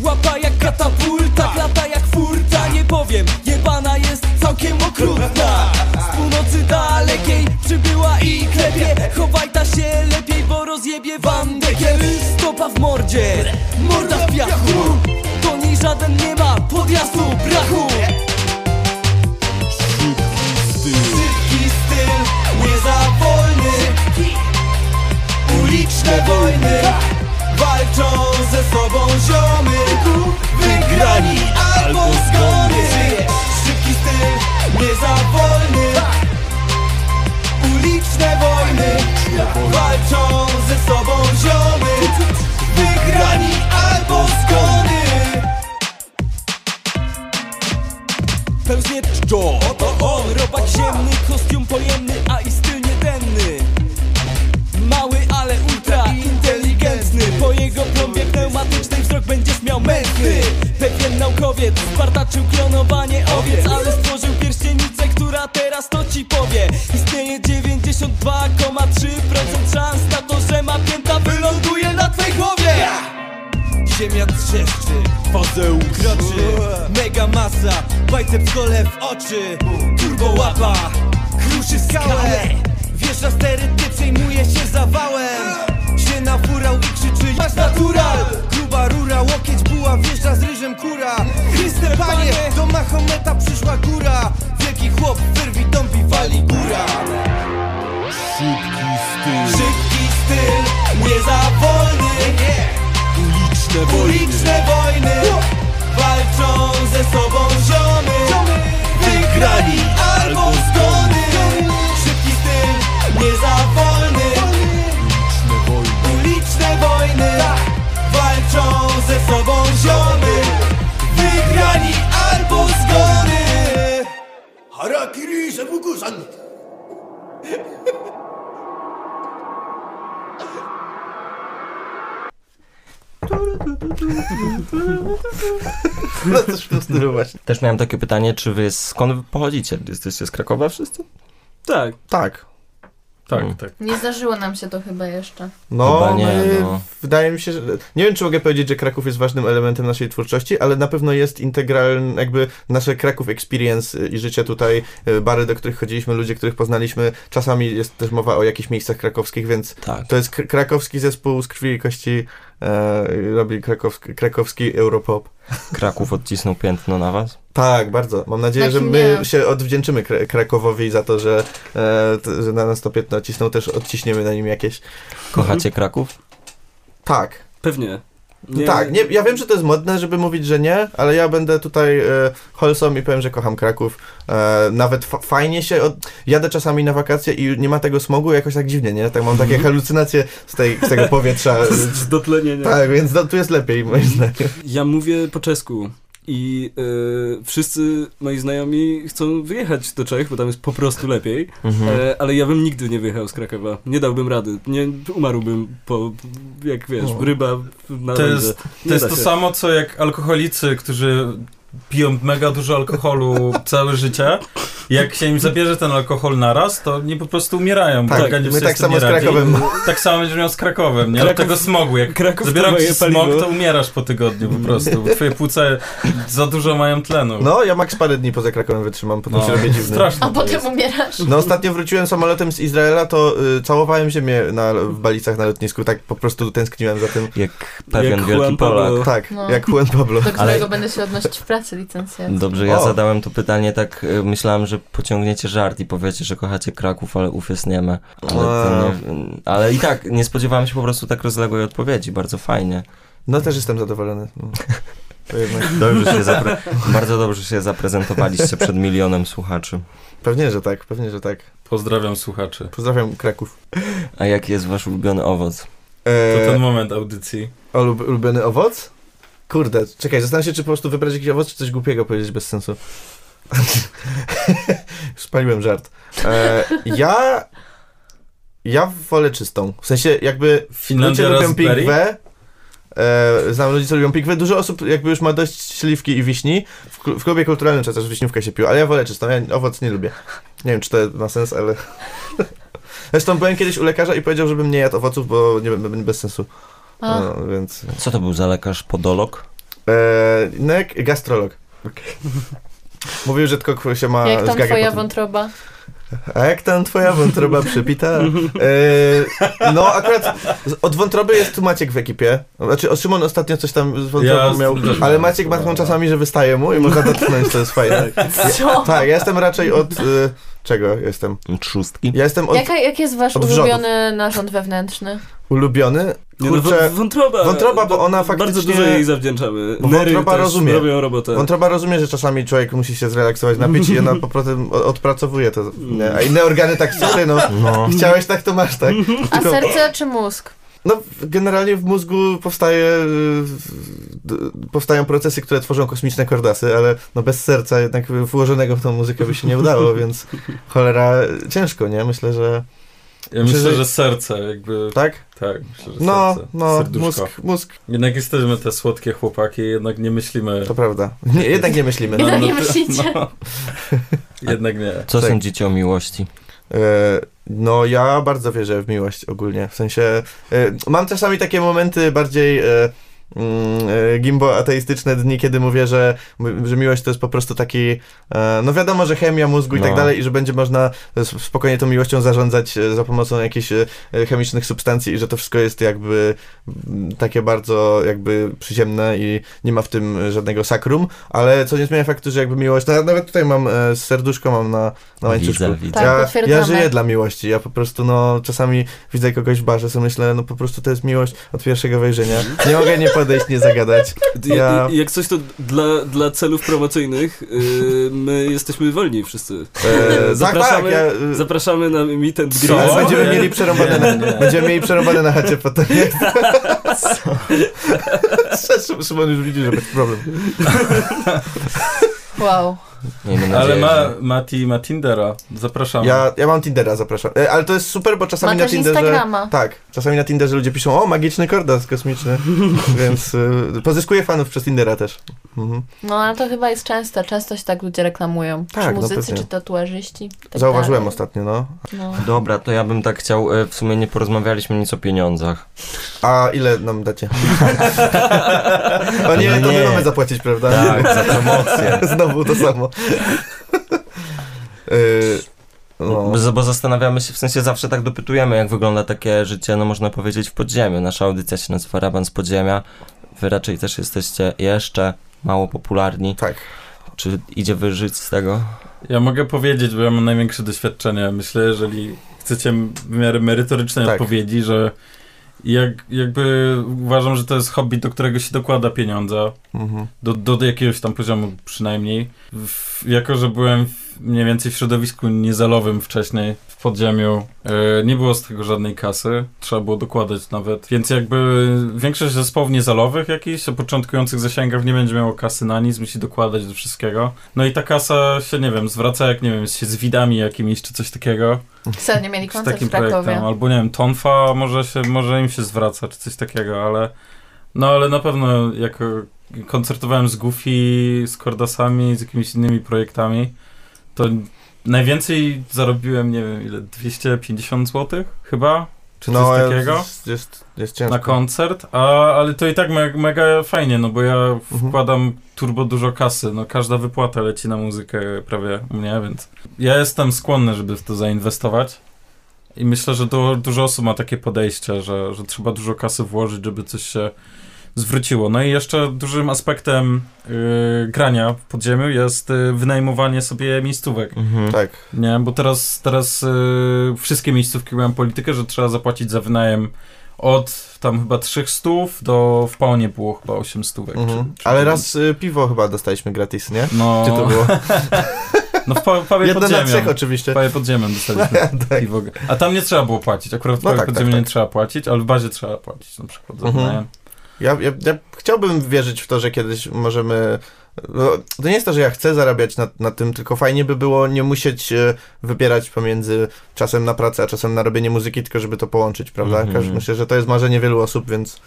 Speaker 6: Łapa jak katapulta Lata jak furta, nie powiem Jebana jest całkiem okrutna Z północy dalekiej Przybyła i klepie Chowaj ta się lepiej, bo rozjebie wam dekiel Stopa w mordzie Morda w piachu Do niej żaden nie ma podjazdu brachu Szybki styl, nie za wolny Uliczne wojny Walczą ze sobą ziomy Wygrani albo zgony Szybki styl, nie za wolny Uliczne wojny Walczą ze sobą ziomy Wygrani albo zgony pełznie czczo Oto on, robak ziemny, kostium pojemny, a i styl niedenny Mały, ale ultra inteligentny Po jego plombie pneumatycznej wzrok będziesz miał mętny Pewien naukowiec spartaczył klonowanie owiec Ale stworzył pierścienicę, która teraz to ci powie Istnieje 92,3% szans na to, że ma pięta wyląduje na twej głowie Ziemia trzeszczy, fazeł kroczy Mega masa, bajceps kole w oczy Turbo łapa, kruszy skałę Wieża steryty przejmuje się zawałem Się nafurał i krzyczy Masz natural, gruba rura Łokieć buła, wjeżdża z ryżem kura Chryste panie, do Mahometa przyszła góra Wielki chłop, wyrwi dąbi, wali góra Szybki styl, nie za wolny Uliczne wojny, Walczą ze sobą ziomy Wygrani albo zgony Szybki styl, nie za wolny Uliczne wojny Walczą ze sobą ziomy Wygrani albo zgony Harakiri Sebukusan
Speaker 3: No coś w tym stylu właśnie.
Speaker 2: Też miałem takie pytanie, czy wy skąd wy pochodzicie? Jesteście z Krakowa wszyscy?
Speaker 4: Tak.
Speaker 3: Tak.
Speaker 5: Tak,
Speaker 2: Mm.
Speaker 5: tak.
Speaker 1: Nie zdarzyło nam się to chyba jeszcze.
Speaker 2: Chyba
Speaker 3: No,
Speaker 2: nie,
Speaker 3: my-
Speaker 2: no.
Speaker 3: wydaje mi się, że... Nie wiem, czy mogę powiedzieć, że Kraków jest ważnym elementem naszej twórczości, ale na pewno jest integralny, jakby nasze Kraków experience y, i życie tutaj, y, bary, do których chodziliśmy, ludzie, których poznaliśmy. Czasami jest też mowa o jakichś miejscach krakowskich, więc
Speaker 2: Tak.
Speaker 3: to jest kr- krakowski zespół z krwi i kości, e, robi krakowski, krakowski europop.
Speaker 2: Kraków odcisnął piętno na was?
Speaker 3: Tak, bardzo. Mam nadzieję,
Speaker 1: Tak
Speaker 3: że my
Speaker 1: nie.
Speaker 3: się odwdzięczymy Kra- Krakowowi za to, że, e, t, że na nas to piętno odcisnął, też odciśniemy na nim jakieś.
Speaker 2: Kochacie Kraków?
Speaker 3: Tak.
Speaker 4: Pewnie.
Speaker 3: No tak, nie, ja wiem, że to jest modne, żeby mówić, że nie, ale ja będę tutaj e, wholesome i powiem, że kocham Kraków. E, nawet fa- fajnie się od... jadę czasami na wakacje i nie ma tego smogu, jakoś tak dziwnie, nie? Tak mam takie halucynacje z, tej, z tego powietrza.
Speaker 4: [LAUGHS] Z dotlenienia.
Speaker 3: tak, więc no, tu jest lepiej, moim zdaniem.
Speaker 4: Ja mówię po czesku i e, wszyscy moi znajomi chcą wyjechać do Czech, bo tam jest po prostu lepiej,
Speaker 3: Mhm.
Speaker 4: e, ale ja bym nigdy nie wyjechał z Krakowa. Nie dałbym rady. Nie umarłbym po, jak wiesz,
Speaker 5: O.
Speaker 4: ryba na
Speaker 5: To
Speaker 4: ręce.
Speaker 5: jest,
Speaker 4: Nie
Speaker 5: to, jest
Speaker 4: da
Speaker 5: to
Speaker 4: się.
Speaker 5: samo, co jak alkoholicy, którzy piją mega
Speaker 3: [LAUGHS]
Speaker 5: dużo alkoholu całe życie. Jak się im zabierze ten alkohol naraz, to nie po prostu umierają. bo
Speaker 3: Tak,
Speaker 5: organizm
Speaker 3: my
Speaker 5: sobie
Speaker 3: tak
Speaker 5: z tym
Speaker 3: samo
Speaker 5: nie
Speaker 3: z
Speaker 5: radzi.
Speaker 3: Krakowem.
Speaker 5: Tak samo będziesz miał z Krakowem, nie?
Speaker 4: Kraków-
Speaker 5: Kraków, tego smogu. Jak
Speaker 4: Kraków
Speaker 5: zabiorą
Speaker 4: to
Speaker 5: ci
Speaker 4: moje
Speaker 5: smog,
Speaker 4: paliwo.
Speaker 5: to umierasz po tygodniu po prostu, bo twoje płuce za dużo mają tlenu. No.
Speaker 3: No, ja max parę dni poza Krakowem wytrzymam, potem się robię dziwny.
Speaker 5: straszne
Speaker 1: A
Speaker 5: to
Speaker 1: potem
Speaker 5: jest.
Speaker 1: umierasz.
Speaker 3: No ostatnio wróciłem samolotem z Izraela, to y, całowałem ziemię na, w Balicach na lotnisku, tak po prostu tęskniłem za tym.
Speaker 2: Jak pewien
Speaker 4: Jak
Speaker 2: wielki
Speaker 4: Juan
Speaker 2: Polak.
Speaker 4: Pablo.
Speaker 3: Tak,
Speaker 1: No.
Speaker 3: jak Juan Pablo.
Speaker 1: Do którego będę się odnosić w pracy licencjackiej.
Speaker 2: Dobrze, ja
Speaker 3: O.
Speaker 2: zadałem to pytanie tak, y, myślałem, że pociągniecie żart i powiecie, że kochacie Kraków, ale uf jest nieme. Ale, to
Speaker 3: Wow.
Speaker 2: nie, ale i tak, nie spodziewałem się po prostu tak rozległej odpowiedzi, bardzo fajnie.
Speaker 3: No też jestem zadowolony. No. To jednak-
Speaker 2: Dobrze się zapre- bardzo dobrze się zaprezentowaliście przed milionem słuchaczy.
Speaker 3: Pewnie, że tak, pewnie, że tak.
Speaker 5: Pozdrawiam słuchaczy.
Speaker 3: Pozdrawiam Kraków.
Speaker 2: A jaki jest wasz ulubiony owoc?
Speaker 5: To
Speaker 3: E,
Speaker 5: ten moment audycji.
Speaker 3: o, lub, ulubiony owoc? Kurde, czekaj, zastanawiam się, czy po prostu wybrać jakiś owoc, czy coś głupiego powiedzieć bez sensu. [LAUGHS] Spaliłem żart. E, ja Ja wolę czystą. W sensie jakby
Speaker 5: Finlandia
Speaker 3: ludzie lubią
Speaker 5: Raspberry?
Speaker 3: pikwę. E, znam ludzi, co lubią pikwę. Dużo osób jakby już ma dość śliwki i wiśni. W, kl- w klubie kulturalnym czasem też wiśniówkę się piło, ale ja wolę czystą. Ja owoc nie lubię. Nie wiem, czy to ma sens, ale... [LAUGHS] Zresztą byłem kiedyś u lekarza i powiedział, żebym nie jadł owoców, bo nie b- b- bez sensu.
Speaker 1: A,
Speaker 3: No, więc...
Speaker 2: Co to był za lekarz? Podolog?
Speaker 3: E, no
Speaker 1: [LAUGHS]
Speaker 3: jak gastrolog. Mówił, że tylko k- się ma
Speaker 1: jak tam
Speaker 3: zgagę
Speaker 1: twoja
Speaker 3: potem.
Speaker 1: wątroba?
Speaker 3: A jak tam twoja wątroba
Speaker 1: [LAUGHS]
Speaker 3: przepita? E, no akurat z- od wątroby jest tu Maciek w ekipie. Znaczy o Szymon ostatnio coś tam z wątrobą
Speaker 5: Ja z-
Speaker 3: miał,
Speaker 5: też
Speaker 3: ale
Speaker 5: miałem.
Speaker 3: Maciek ma taką czasami, że wystaje mu i można dotknąć, to jest fajne.
Speaker 1: [LAUGHS] Co?
Speaker 3: Tak, ja jestem raczej od... Y, czego jestem?
Speaker 2: Trzustki?
Speaker 3: Ja jestem od
Speaker 1: Jaka, jak jest wasz
Speaker 3: od wrzodów.
Speaker 1: ulubiony narząd wewnętrzny?
Speaker 3: ulubiony.
Speaker 4: Nie, no,
Speaker 3: Kurczę,
Speaker 4: wą- wątroba.
Speaker 3: wątroba, bo ona
Speaker 4: Bardzo
Speaker 3: faktycznie-
Speaker 4: dużo jej zawdzięczamy.
Speaker 3: Bo
Speaker 4: Nery
Speaker 3: wątroba
Speaker 4: też
Speaker 3: rozumie.
Speaker 4: robią robotę.
Speaker 3: Wątroba rozumie, że czasami człowiek musi się zrelaksować na pić i ona po prostu o- odpracowuje to. Nie, a inne organy tak
Speaker 1: [LAUGHS]
Speaker 3: słuchaj, no.
Speaker 2: No.
Speaker 3: Chciałeś tak, to masz tak.
Speaker 1: A
Speaker 3: Tylko-
Speaker 1: serce czy mózg?
Speaker 3: No, generalnie w mózgu powstaje, y, d- powstają procesy, które tworzą kosmiczne kordasy, ale no bez serca jednak włożonego w tą muzykę by się nie
Speaker 5: [LAUGHS]
Speaker 3: udało, więc cholera y, ciężko, nie? Myślę, że
Speaker 5: Ja myślę,
Speaker 3: Czy-
Speaker 5: że serce jakby...
Speaker 3: tak?
Speaker 5: Tak, myślę, że
Speaker 3: No,
Speaker 5: serce.
Speaker 3: no,
Speaker 5: Serduszko.
Speaker 3: mózg, mózg,
Speaker 5: Jednak jesteśmy te słodkie chłopaki, jednak nie myślimy.
Speaker 3: to prawda. Nie, jednak nie myślimy. no.
Speaker 1: Jednak nie
Speaker 3: [LAUGHS]
Speaker 5: to-
Speaker 1: myślicie.
Speaker 5: no. Jednak nie.
Speaker 2: Co
Speaker 3: Tak.
Speaker 2: sądzicie o miłości?
Speaker 3: E, No, ja bardzo wierzę w miłość ogólnie. W sensie e, mam czasami takie momenty bardziej e, mm, e, gimbo ateistyczne dni, kiedy mówię, że, m- że miłość to jest po prostu taki. e, No wiadomo, że chemia mózgu i tak
Speaker 2: No.
Speaker 3: dalej, i że będzie można s- spokojnie tą miłością zarządzać e, za pomocą jakichś e, chemicznych substancji i że to wszystko jest jakby m, takie bardzo jakby przyziemne i nie ma w tym żadnego sakrum, ale co nie zmienia faktu, że jakby miłość. No, ja nawet tutaj mam e, serduszko mam na,
Speaker 2: No,
Speaker 3: na łańcuszku.
Speaker 2: Widzę, widzę.
Speaker 1: Tak,
Speaker 3: Ja, ja
Speaker 1: potwierdzamy.
Speaker 3: żyję dla miłości. Ja po prostu, no, czasami widzę kogoś w barze, sobie myślę, no po prostu to jest miłość od pierwszego wejrzenia. Nie mogę nie podejść, nie zagadać.
Speaker 4: I-
Speaker 3: Ja-
Speaker 4: i- Jak coś to dla, dla celów promocyjnych yy, my jesteśmy wolni wszyscy.
Speaker 3: E,
Speaker 4: Zapraszamy-
Speaker 3: Tak, tak, ja, e,
Speaker 4: Zapraszamy na Meet and
Speaker 5: Co?
Speaker 4: Greet.
Speaker 3: ale będziemy
Speaker 5: Nie,
Speaker 3: mieli przerąbane na,
Speaker 5: nie, nie.
Speaker 3: będziemy mieli przerąbane na chacie potem. [LAUGHS] Co? Szymon już widzi, że będzie problem.
Speaker 1: Wow.
Speaker 2: Miejmy nadzieję,
Speaker 5: Ale ma,
Speaker 2: że...
Speaker 5: Mati ma Tindera. Zapraszamy.
Speaker 3: Ja, ja mam Tindera, zapraszam. E, Ale to jest super, bo
Speaker 1: Ma
Speaker 3: czasami na
Speaker 1: też
Speaker 3: Tinderze...
Speaker 1: Instagrama.
Speaker 3: Tak, czasami na Tinderze ludzie piszą, o, magiczny kordas kosmiczny, [LAUGHS] więc y, pozyskuję fanów przez Tindera też. Mhm.
Speaker 1: No ale to chyba jest często. Często się tak ludzie reklamują.
Speaker 3: Tak,
Speaker 1: czy
Speaker 3: no
Speaker 1: muzycy,
Speaker 3: pewnie.
Speaker 1: czy tatuażyści. Tak
Speaker 3: Zauważyłem
Speaker 1: dalej.
Speaker 3: ostatnio, no.
Speaker 1: No.
Speaker 2: Dobra, to ja bym tak chciał, e, w sumie nie porozmawialiśmy nic o pieniądzach.
Speaker 3: A ile nam
Speaker 5: [LAUGHS]
Speaker 3: dacie? o nie,
Speaker 2: No
Speaker 3: to
Speaker 2: nie.
Speaker 3: my mamy zapłacić, prawda?
Speaker 2: Tak, za promocję.
Speaker 3: [LAUGHS] Znowu to samo. [LAUGHS] Yy, no.
Speaker 2: Bo, bo zastanawiamy się, w sensie zawsze tak dopytujemy, jak wygląda takie życie, no można powiedzieć, w podziemiu. Nasza audycja się nazywa Raban z podziemia. Wy raczej też jesteście jeszcze mało popularni.
Speaker 3: Tak.
Speaker 2: Czy idzie wyżyć z tego?
Speaker 5: Ja mogę powiedzieć, bo ja mam największe doświadczenie. Myślę, jeżeli chcecie w miarę merytorycznej
Speaker 3: Tak.
Speaker 5: odpowiedzi, że jak, jakby uważam, że to jest hobby, do którego się dokłada pieniądze.
Speaker 3: Mhm.
Speaker 5: Do, do jakiegoś tam poziomu przynajmniej. W, jako, że byłem w, mniej więcej w środowisku niezalowym wcześniej, w podziemiu, e, nie było z tego żadnej kasy. Trzeba było dokładać nawet. Więc jakby większość zespołów niezalowych jakichś, o początkujących zasięgach nie będzie miało kasy na nic, musi dokładać do wszystkiego. No i ta kasa się, nie wiem, zwraca jak, nie wiem, się z widami jakimiś czy coś takiego.
Speaker 1: Ostatnio mieli
Speaker 5: Z
Speaker 1: koncert
Speaker 5: takim
Speaker 1: w Krakowie.
Speaker 5: projektem. Albo, nie wiem, Tonfa może, się, może im się zwraca czy coś takiego, ale... No, ale na pewno jako koncertowałem z Goofy, z Kordasami, z jakimiś innymi projektami, to najwięcej zarobiłem, nie wiem, ile, 250 zł chyba? Czy coś
Speaker 3: No,
Speaker 5: takiego?
Speaker 3: Jest, jest, jest
Speaker 5: Na
Speaker 3: ciężko.
Speaker 5: koncert, a, ale to i tak me, mega fajnie, no bo ja
Speaker 3: Mhm.
Speaker 5: wkładam turbo dużo kasy, no każda wypłata leci na muzykę prawie u mnie, więc ja jestem skłonny, żeby w to zainwestować i myślę, że du dużo osób ma takie podejście, że, że trzeba dużo kasy włożyć, żeby coś się zwróciło. No i jeszcze dużym aspektem yy, grania w podziemiu jest yy, wynajmowanie sobie miejscówek.
Speaker 2: Mhm.
Speaker 3: Tak.
Speaker 5: Nie, bo teraz, teraz y, wszystkie miejscówki mają politykę, że trzeba zapłacić za wynajem od tam chyba 300 do w Paonie było chyba 8 stówek.
Speaker 3: Mhm.
Speaker 5: Tak, czy- czy-
Speaker 3: Ale raz y, piwo chyba dostaliśmy gratis, nie?
Speaker 5: No,
Speaker 3: Gdzie to było?
Speaker 5: [LAUGHS] no w pa- Pawie
Speaker 3: Jedno na
Speaker 5: pod
Speaker 3: trzech
Speaker 5: ziemią.
Speaker 3: oczywiście. [LAUGHS]
Speaker 5: Pawie pod ziemią dostaliśmy
Speaker 3: Tak.
Speaker 5: piwo. A tam nie trzeba było płacić, akurat w
Speaker 3: No
Speaker 5: Pawie
Speaker 3: tak,
Speaker 5: pod
Speaker 3: tak,
Speaker 5: ziemią nie
Speaker 3: tak.
Speaker 5: trzeba płacić, ale w bazie trzeba płacić na przykład za
Speaker 3: Mhm.
Speaker 5: wynajem.
Speaker 3: Ja, ja, ja chciałbym wierzyć w to, że kiedyś możemy no, to nie jest to, że ja chcę zarabiać na, na tym, tylko fajnie by było nie musieć e, wybierać pomiędzy czasem na pracę, a czasem na robienie muzyki, tylko żeby to połączyć, prawda?
Speaker 2: Mhm.
Speaker 3: Każ- Myślę, że to jest marzenie wielu osób, więc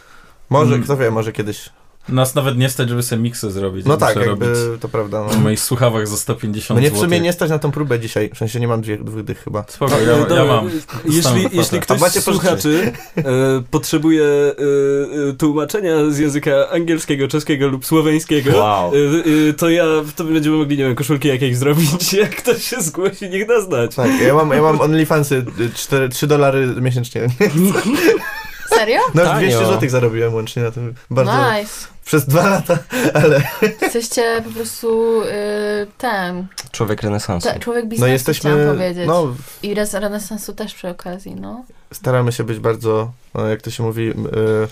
Speaker 3: może,
Speaker 5: Mm.
Speaker 3: kto wie, może kiedyś.
Speaker 5: Nas nawet nie stać, żeby sobie miksy zrobić.
Speaker 3: No
Speaker 5: Muszę
Speaker 3: tak, jakby
Speaker 5: robić
Speaker 3: to prawda.
Speaker 5: w
Speaker 3: No.
Speaker 5: moich słuchawach za 150
Speaker 3: Mnie w
Speaker 5: złotych.
Speaker 3: sumie nie stać na tą próbę dzisiaj, w sensie nie mam dwie, dwóch dych chyba.
Speaker 5: Spoko, ja,
Speaker 3: no,
Speaker 4: No, e, Dobra,
Speaker 5: ja mam. Dostałem
Speaker 4: Jeśli,
Speaker 5: kwotę.
Speaker 4: jeśli ktoś
Speaker 3: A macie
Speaker 4: z słuchaczy e, potrzebuje e, e, tłumaczenia z języka angielskiego, czeskiego lub słoweńskiego,
Speaker 2: Wow.
Speaker 4: e, e, to ja, to będziemy mogli, nie wiem, koszulki jakieś zrobić, [LAUGHS] jak ktoś się zgłosi, niech da
Speaker 3: [LAUGHS]
Speaker 4: znać.
Speaker 3: Tak, ja mam, ja mam OnlyFansy 4, 3 dolary miesięcznie. [LAUGHS]
Speaker 1: Serio?
Speaker 3: No
Speaker 2: Tanio.
Speaker 3: 200 zł zarobiłem łącznie na tym. [LAUGHS] Bardzo.
Speaker 1: Nice.
Speaker 3: Przez dwa lata, ale.
Speaker 1: Jesteście po prostu y, ten,
Speaker 2: Człowiek renesansu.
Speaker 1: te, człowiek biznesu,
Speaker 3: No
Speaker 1: no chciałam
Speaker 3: jesteśmy.
Speaker 1: powiedzieć.
Speaker 3: No,
Speaker 1: I res, renesansu też przy okazji, no.
Speaker 3: staramy się być bardzo, no, jak to się mówi, m, y,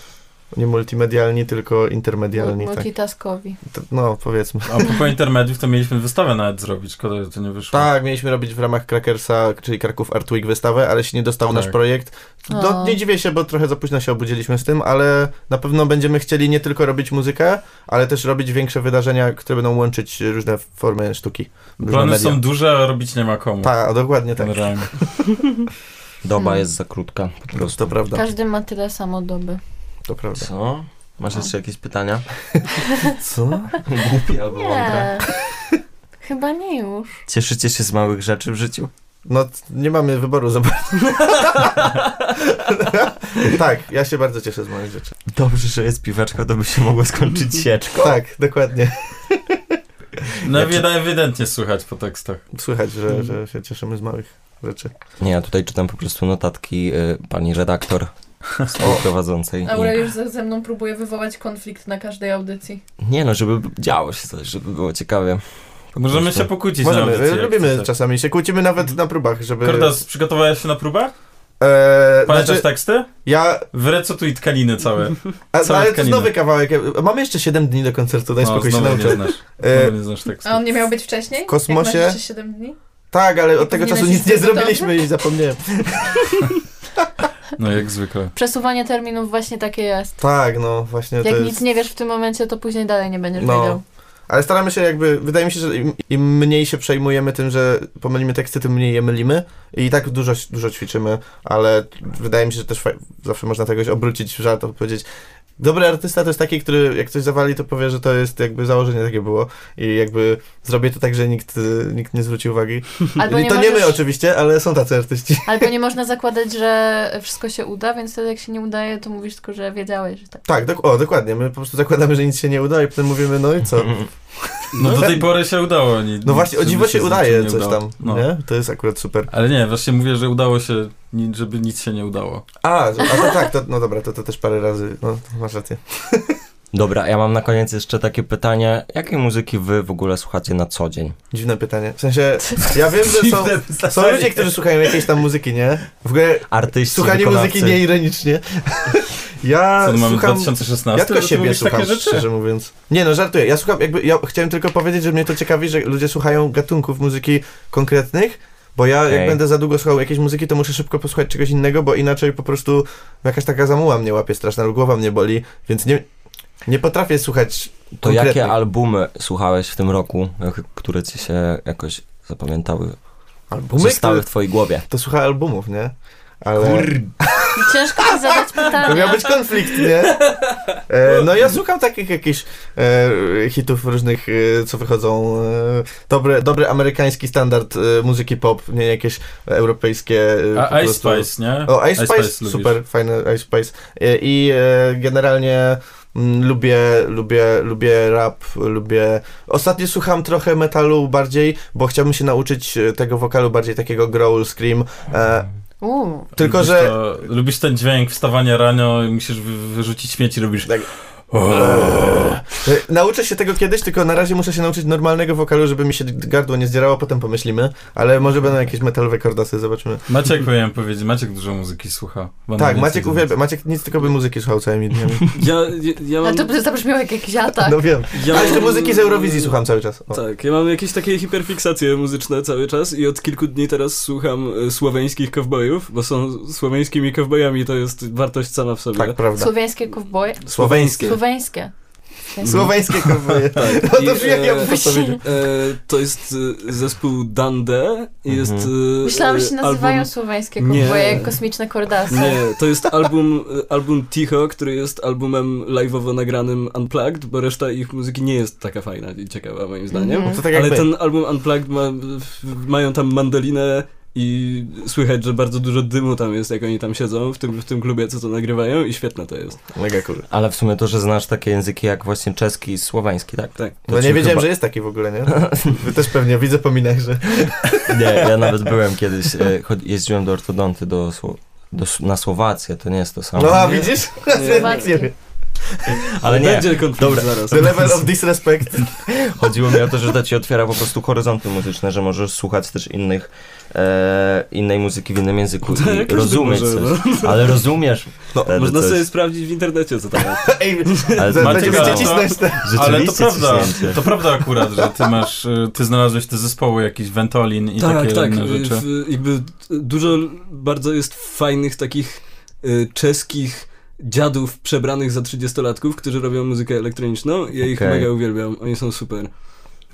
Speaker 3: nie multimedialni, tylko intermedialni. Tak.
Speaker 1: Multitaskowi.
Speaker 3: To- No, powiedzmy.
Speaker 5: A propos intermediów, to mieliśmy wystawę nawet zrobić, szkoda, że to nie wyszło.
Speaker 3: Tak, mieliśmy robić w ramach Crackersa, czyli Kraków Art Week wystawę, ale się nie dostał
Speaker 5: Tak.
Speaker 3: nasz projekt. No,
Speaker 1: O.
Speaker 3: nie dziwię się, bo trochę za późno się obudziliśmy z tym, ale na pewno będziemy chcieli nie tylko robić muzykę, ale też robić większe wydarzenia, które będą łączyć różne formy sztuki. różne
Speaker 5: Plany
Speaker 3: media.
Speaker 5: są duże, a robić nie ma komu.
Speaker 2: No.
Speaker 3: Tak, dokładnie tak.
Speaker 5: Generalnie.
Speaker 2: Doba
Speaker 1: Hmm.
Speaker 2: jest za krótka, po
Speaker 3: To,
Speaker 2: prostu.
Speaker 3: to prawda,
Speaker 1: Każdy ma tyle samo doby.
Speaker 3: to prawda.
Speaker 2: Co? Masz jeszcze jakieś pytania?
Speaker 3: Co?
Speaker 2: Głupie albo mądre?
Speaker 1: Nie. [LAUGHS] Chyba nie już.
Speaker 2: Cieszycie się z małych rzeczy w życiu?
Speaker 3: No, t- nie mamy wyboru za bardzo.
Speaker 5: [LAUGHS]
Speaker 3: tak, ja się bardzo cieszę z moich rzeczy.
Speaker 2: Dobrze, że jest piweczka, to by się mogło
Speaker 3: [LAUGHS]
Speaker 2: skończyć sieczką.
Speaker 3: Tak, dokładnie.
Speaker 5: No
Speaker 2: Ja czy-
Speaker 5: ewid- ewidentnie słychać po tekstach.
Speaker 3: Słychać, że, że się cieszymy z małych rzeczy.
Speaker 2: Nie, ja tutaj czytam po prostu notatki y, pani redaktor współprowadzącej.
Speaker 1: Aura już ze, ze mną próbuje wywołać konflikt na każdej audycji.
Speaker 2: I... Nie no, żeby działo się coś, żeby było ciekawie. Po
Speaker 5: Możemy
Speaker 2: prostu.
Speaker 5: się pokłócić na
Speaker 3: Możemy,
Speaker 5: audycji, jak
Speaker 3: lubimy
Speaker 5: chcesz.
Speaker 3: czasami się, kłócimy nawet na próbach, żeby...
Speaker 5: Kordas, przygotowałeś się na próbę?
Speaker 3: E,
Speaker 5: Pamiętasz tak-
Speaker 3: znaczy,
Speaker 5: teksty?
Speaker 3: ja...
Speaker 5: Wyrecytuj tkaniny całe.
Speaker 3: A, ale
Speaker 5: Cała
Speaker 3: to jest
Speaker 5: tkanina.
Speaker 3: nowy kawałek. ja- Mamy jeszcze 7 dni do koncertu, [LAUGHS] daj spokój się
Speaker 5: No, znowu nie
Speaker 3: nauczę.
Speaker 5: znasz.
Speaker 3: E,
Speaker 5: Znowu nie znasz tekstu.
Speaker 1: A on nie miał być wcześniej? Jak
Speaker 3: kosmosie?
Speaker 1: masz jeszcze 7 dni?
Speaker 3: tak, ale od tego
Speaker 1: Nie
Speaker 3: czasu
Speaker 1: lecisz
Speaker 3: nic nie
Speaker 1: z tym
Speaker 3: zrobiliśmy i zapomniałem.
Speaker 5: No jak zwykle.
Speaker 1: Przesuwanie terminów właśnie takie jest.
Speaker 3: Tak, no właśnie to
Speaker 1: Jak
Speaker 3: jest...
Speaker 1: nic nie wiesz w tym momencie, to później dalej nie będziesz
Speaker 3: No. [LAUGHS]
Speaker 1: wiedział.
Speaker 3: Ale staramy się jakby, wydaje mi się, że im, im mniej się przejmujemy tym, że pomylimy teksty, tym mniej je mylimy i tak dużo, dużo ćwiczymy, ale wydaje mi się, że też fa- zawsze można tegoś obrócić w żart, powiedzieć Dobry artysta to jest taki, który jak coś zawali, to powie, że to jest jakby założenie takie było i jakby zrobię to tak, że nikt, y, nikt nie zwróci uwagi.
Speaker 1: Albo
Speaker 3: I
Speaker 1: nie
Speaker 3: to nie my
Speaker 1: możesz-
Speaker 3: oczywiście, ale są tacy artyści. [LAUGHS]
Speaker 1: Albo nie można zakładać, że wszystko się uda, więc wtedy jak się nie udaje, to mówisz tylko, że wiedziałeś, że tak.
Speaker 3: Tak, dok- o, dokładnie, my po prostu zakładamy, że nic się nie uda i potem mówimy, no i co?
Speaker 5: No do tej pory się udało. Nie,
Speaker 3: No właśnie, o
Speaker 5: żeby
Speaker 3: dziwo się
Speaker 5: znaczy
Speaker 3: udaje
Speaker 5: nie
Speaker 3: coś
Speaker 5: udało.
Speaker 3: tam,
Speaker 5: No.
Speaker 3: nie? To jest akurat super.
Speaker 5: Ale nie, właśnie mówię, że udało się, ni- żeby nic się nie udało.
Speaker 3: A, a to tak, to, no dobra, to, to też parę razy, no to masz rację.
Speaker 2: [LAUGHS] Dobra, ja mam na koniec jeszcze takie pytanie. Jakiej muzyki wy w ogóle słuchacie na co dzień?
Speaker 3: Dziwne pytanie. W sensie, ja wiem,
Speaker 5: [LAUGHS]
Speaker 3: że są, są ludzie, którzy słuchają jakiejś tam muzyki, nie? W ogóle
Speaker 2: Artyści,
Speaker 3: słuchanie
Speaker 2: wykonawcy.
Speaker 3: muzyki nieironicznie. [LAUGHS] ja
Speaker 5: Co, no mamy
Speaker 3: słucham...
Speaker 5: 2016?
Speaker 3: Ja tylko
Speaker 5: że ty
Speaker 3: siebie
Speaker 5: mówisz
Speaker 3: słucham,
Speaker 5: takie rzeczy.
Speaker 3: szczerze mówiąc. Nie no, żartuję. Ja słucham, jakby, ja chciałem tylko powiedzieć, że mnie to ciekawi, że ludzie słuchają gatunków muzyki konkretnych, bo ja jak
Speaker 2: Ej.
Speaker 3: będę za długo słuchał jakiejś muzyki, to muszę szybko posłuchać czegoś innego, bo inaczej po prostu jakaś taka zamuła mnie łapie straszna, lub głowa mnie boli, więc nie, nie potrafię słuchać
Speaker 2: To jakie
Speaker 3: konkretnych.
Speaker 2: albumy słuchałeś w tym roku, jak- które ci się jakoś zapamiętały,
Speaker 3: albumy,
Speaker 2: zostały
Speaker 3: które,
Speaker 2: w twojej głowie?
Speaker 3: to słucha albumów, nie? Ale...
Speaker 1: Ciężko mi zadać
Speaker 3: [LAUGHS] To miał
Speaker 1: pytanie.
Speaker 3: być konflikt, nie? E, no ja słucham takich jakichś e, hitów różnych, e, co wychodzą. E, dobry, dobry amerykański standard e, muzyki pop, nie jakieś europejskie. E, po
Speaker 5: A Ice
Speaker 3: prostu.
Speaker 5: Spice, nie?
Speaker 3: O, Ice Spice,
Speaker 5: lubisz.
Speaker 3: super, fajny Ice Spice. E, I e, generalnie mm, lubię, lubię, lubię rap, lubię... Ostatnio słucham trochę metalu bardziej, bo chciałbym się nauczyć e, tego wokalu bardziej takiego growl, scream. E,
Speaker 1: Uuu,
Speaker 3: tylko,
Speaker 5: lubisz
Speaker 3: że...
Speaker 5: To, lubisz ten dźwięk wstawania rano i musisz wy, wyrzucić śmieci, robisz...
Speaker 3: Tak.
Speaker 5: O,
Speaker 3: Eee. Nauczę się tego kiedyś, tylko na razie muszę się nauczyć normalnego wokalu, żeby mi się gardło nie zdzierało, potem pomyślimy, ale może będą jakieś metalowe kordasy, zobaczymy.
Speaker 5: Maciek powinien powiedzieć, Maciek dużo muzyki słucha. Bo on
Speaker 3: tak,
Speaker 5: więcej
Speaker 3: Maciek
Speaker 5: to
Speaker 3: uwielbia, Maciek nic tylko by muzyki słuchał całymi dniami.
Speaker 4: Ja, ja, ja
Speaker 1: ale
Speaker 4: mam...
Speaker 1: to by zabrzmiało jak jakiś atak.
Speaker 3: No wiem.
Speaker 4: ja
Speaker 3: Ale
Speaker 4: mam-
Speaker 3: jeszcze muzyki z Eurowizji słucham cały czas. O.
Speaker 4: Tak, ja mam jakieś takie hiperfiksacje muzyczne cały czas i od kilku dni teraz słucham e, słoweńskich kowbojów, bo są słoweńskimi kowbojami, to jest wartość sama w sobie.
Speaker 3: Tak, prawda.
Speaker 1: Słowiańskie kowboje.
Speaker 3: Słoweńskie.
Speaker 1: Słoweńskie.
Speaker 3: Słoweńskie kowboje.
Speaker 4: Tak.
Speaker 3: [LAUGHS] No
Speaker 4: I,
Speaker 3: to wiem, ja
Speaker 4: e,
Speaker 3: bym to powiedział.
Speaker 4: E, to jest e, zespół Dande i jest...
Speaker 2: Mhm.
Speaker 4: e,
Speaker 1: Myślałam, że się
Speaker 4: e,
Speaker 1: nazywają
Speaker 4: album-
Speaker 1: słoweńskie
Speaker 4: Nie.
Speaker 1: kowboje jak kosmiczne kordasy.
Speaker 4: Nie, to jest album, e, album Ticho, który jest albumem live'owo nagranym Unplugged, bo reszta ich muzyki nie jest taka fajna i ciekawa moim zdaniem.
Speaker 1: Mhm.
Speaker 3: To tak
Speaker 4: Ale
Speaker 3: jakby.
Speaker 4: ten album Unplugged ma, w- mają tam mandolinę i słychać, że bardzo dużo dymu tam jest, jak oni tam siedzą w tym, w tym klubie, co to nagrywają i świetne to jest.
Speaker 3: Mega cool.
Speaker 2: Ale w sumie to, że znasz takie języki jak właśnie czeski i słoweński, tak?
Speaker 4: Tak.
Speaker 2: To
Speaker 3: No
Speaker 2: ci
Speaker 3: nie wiedziałem,
Speaker 2: chyba-
Speaker 3: że jest taki w ogóle, nie? Wy też pewnie, widzę po minach, że...
Speaker 2: Nie, [LAUGHS] ja nawet byłem kiedyś, e, chod- jeździłem do ortodonty do, Sło- do, S- na Słowację, to nie jest to samo.
Speaker 3: No a
Speaker 4: nie.
Speaker 3: widzisz?
Speaker 1: Słowacki.
Speaker 3: Nie wiem.
Speaker 2: Ale nie,
Speaker 4: Będzie konflikt
Speaker 2: Dobra.
Speaker 4: zaraz.
Speaker 3: The level of disrespect. [LAUGHS]
Speaker 2: chodziło mi o to, że to ci otwiera po prostu horyzonty muzyczne, że możesz słuchać też innych, e, innej muzyki w innym języku i
Speaker 4: Tak, każdy
Speaker 2: rozumieć
Speaker 4: może,
Speaker 2: coś. Ale rozumiesz,
Speaker 4: No,
Speaker 2: Wtedy
Speaker 4: można
Speaker 2: coś-
Speaker 4: sobie sprawdzić w internecie, co tam jest.
Speaker 3: Ej,
Speaker 2: ale
Speaker 3: za-
Speaker 5: Macie
Speaker 3: będziemy cię
Speaker 5: prawo.
Speaker 3: cisnąć te...
Speaker 5: Ale to
Speaker 2: rzeczywiście
Speaker 5: prawda,
Speaker 2: ciśnięcie.
Speaker 5: to prawda akurat, że ty masz, y, ty znalazłeś te zespoły jakiś Ventolin i
Speaker 4: tak,
Speaker 5: takie
Speaker 4: tak.
Speaker 5: inne
Speaker 4: w-
Speaker 5: rzeczy.
Speaker 4: W, jakby dużo bardzo jest fajnych takich y, czeskich dziadów przebranych za 30-latków, którzy robią muzykę elektroniczną. Ja ich
Speaker 2: Okej.
Speaker 4: mega uwielbiam, oni są super.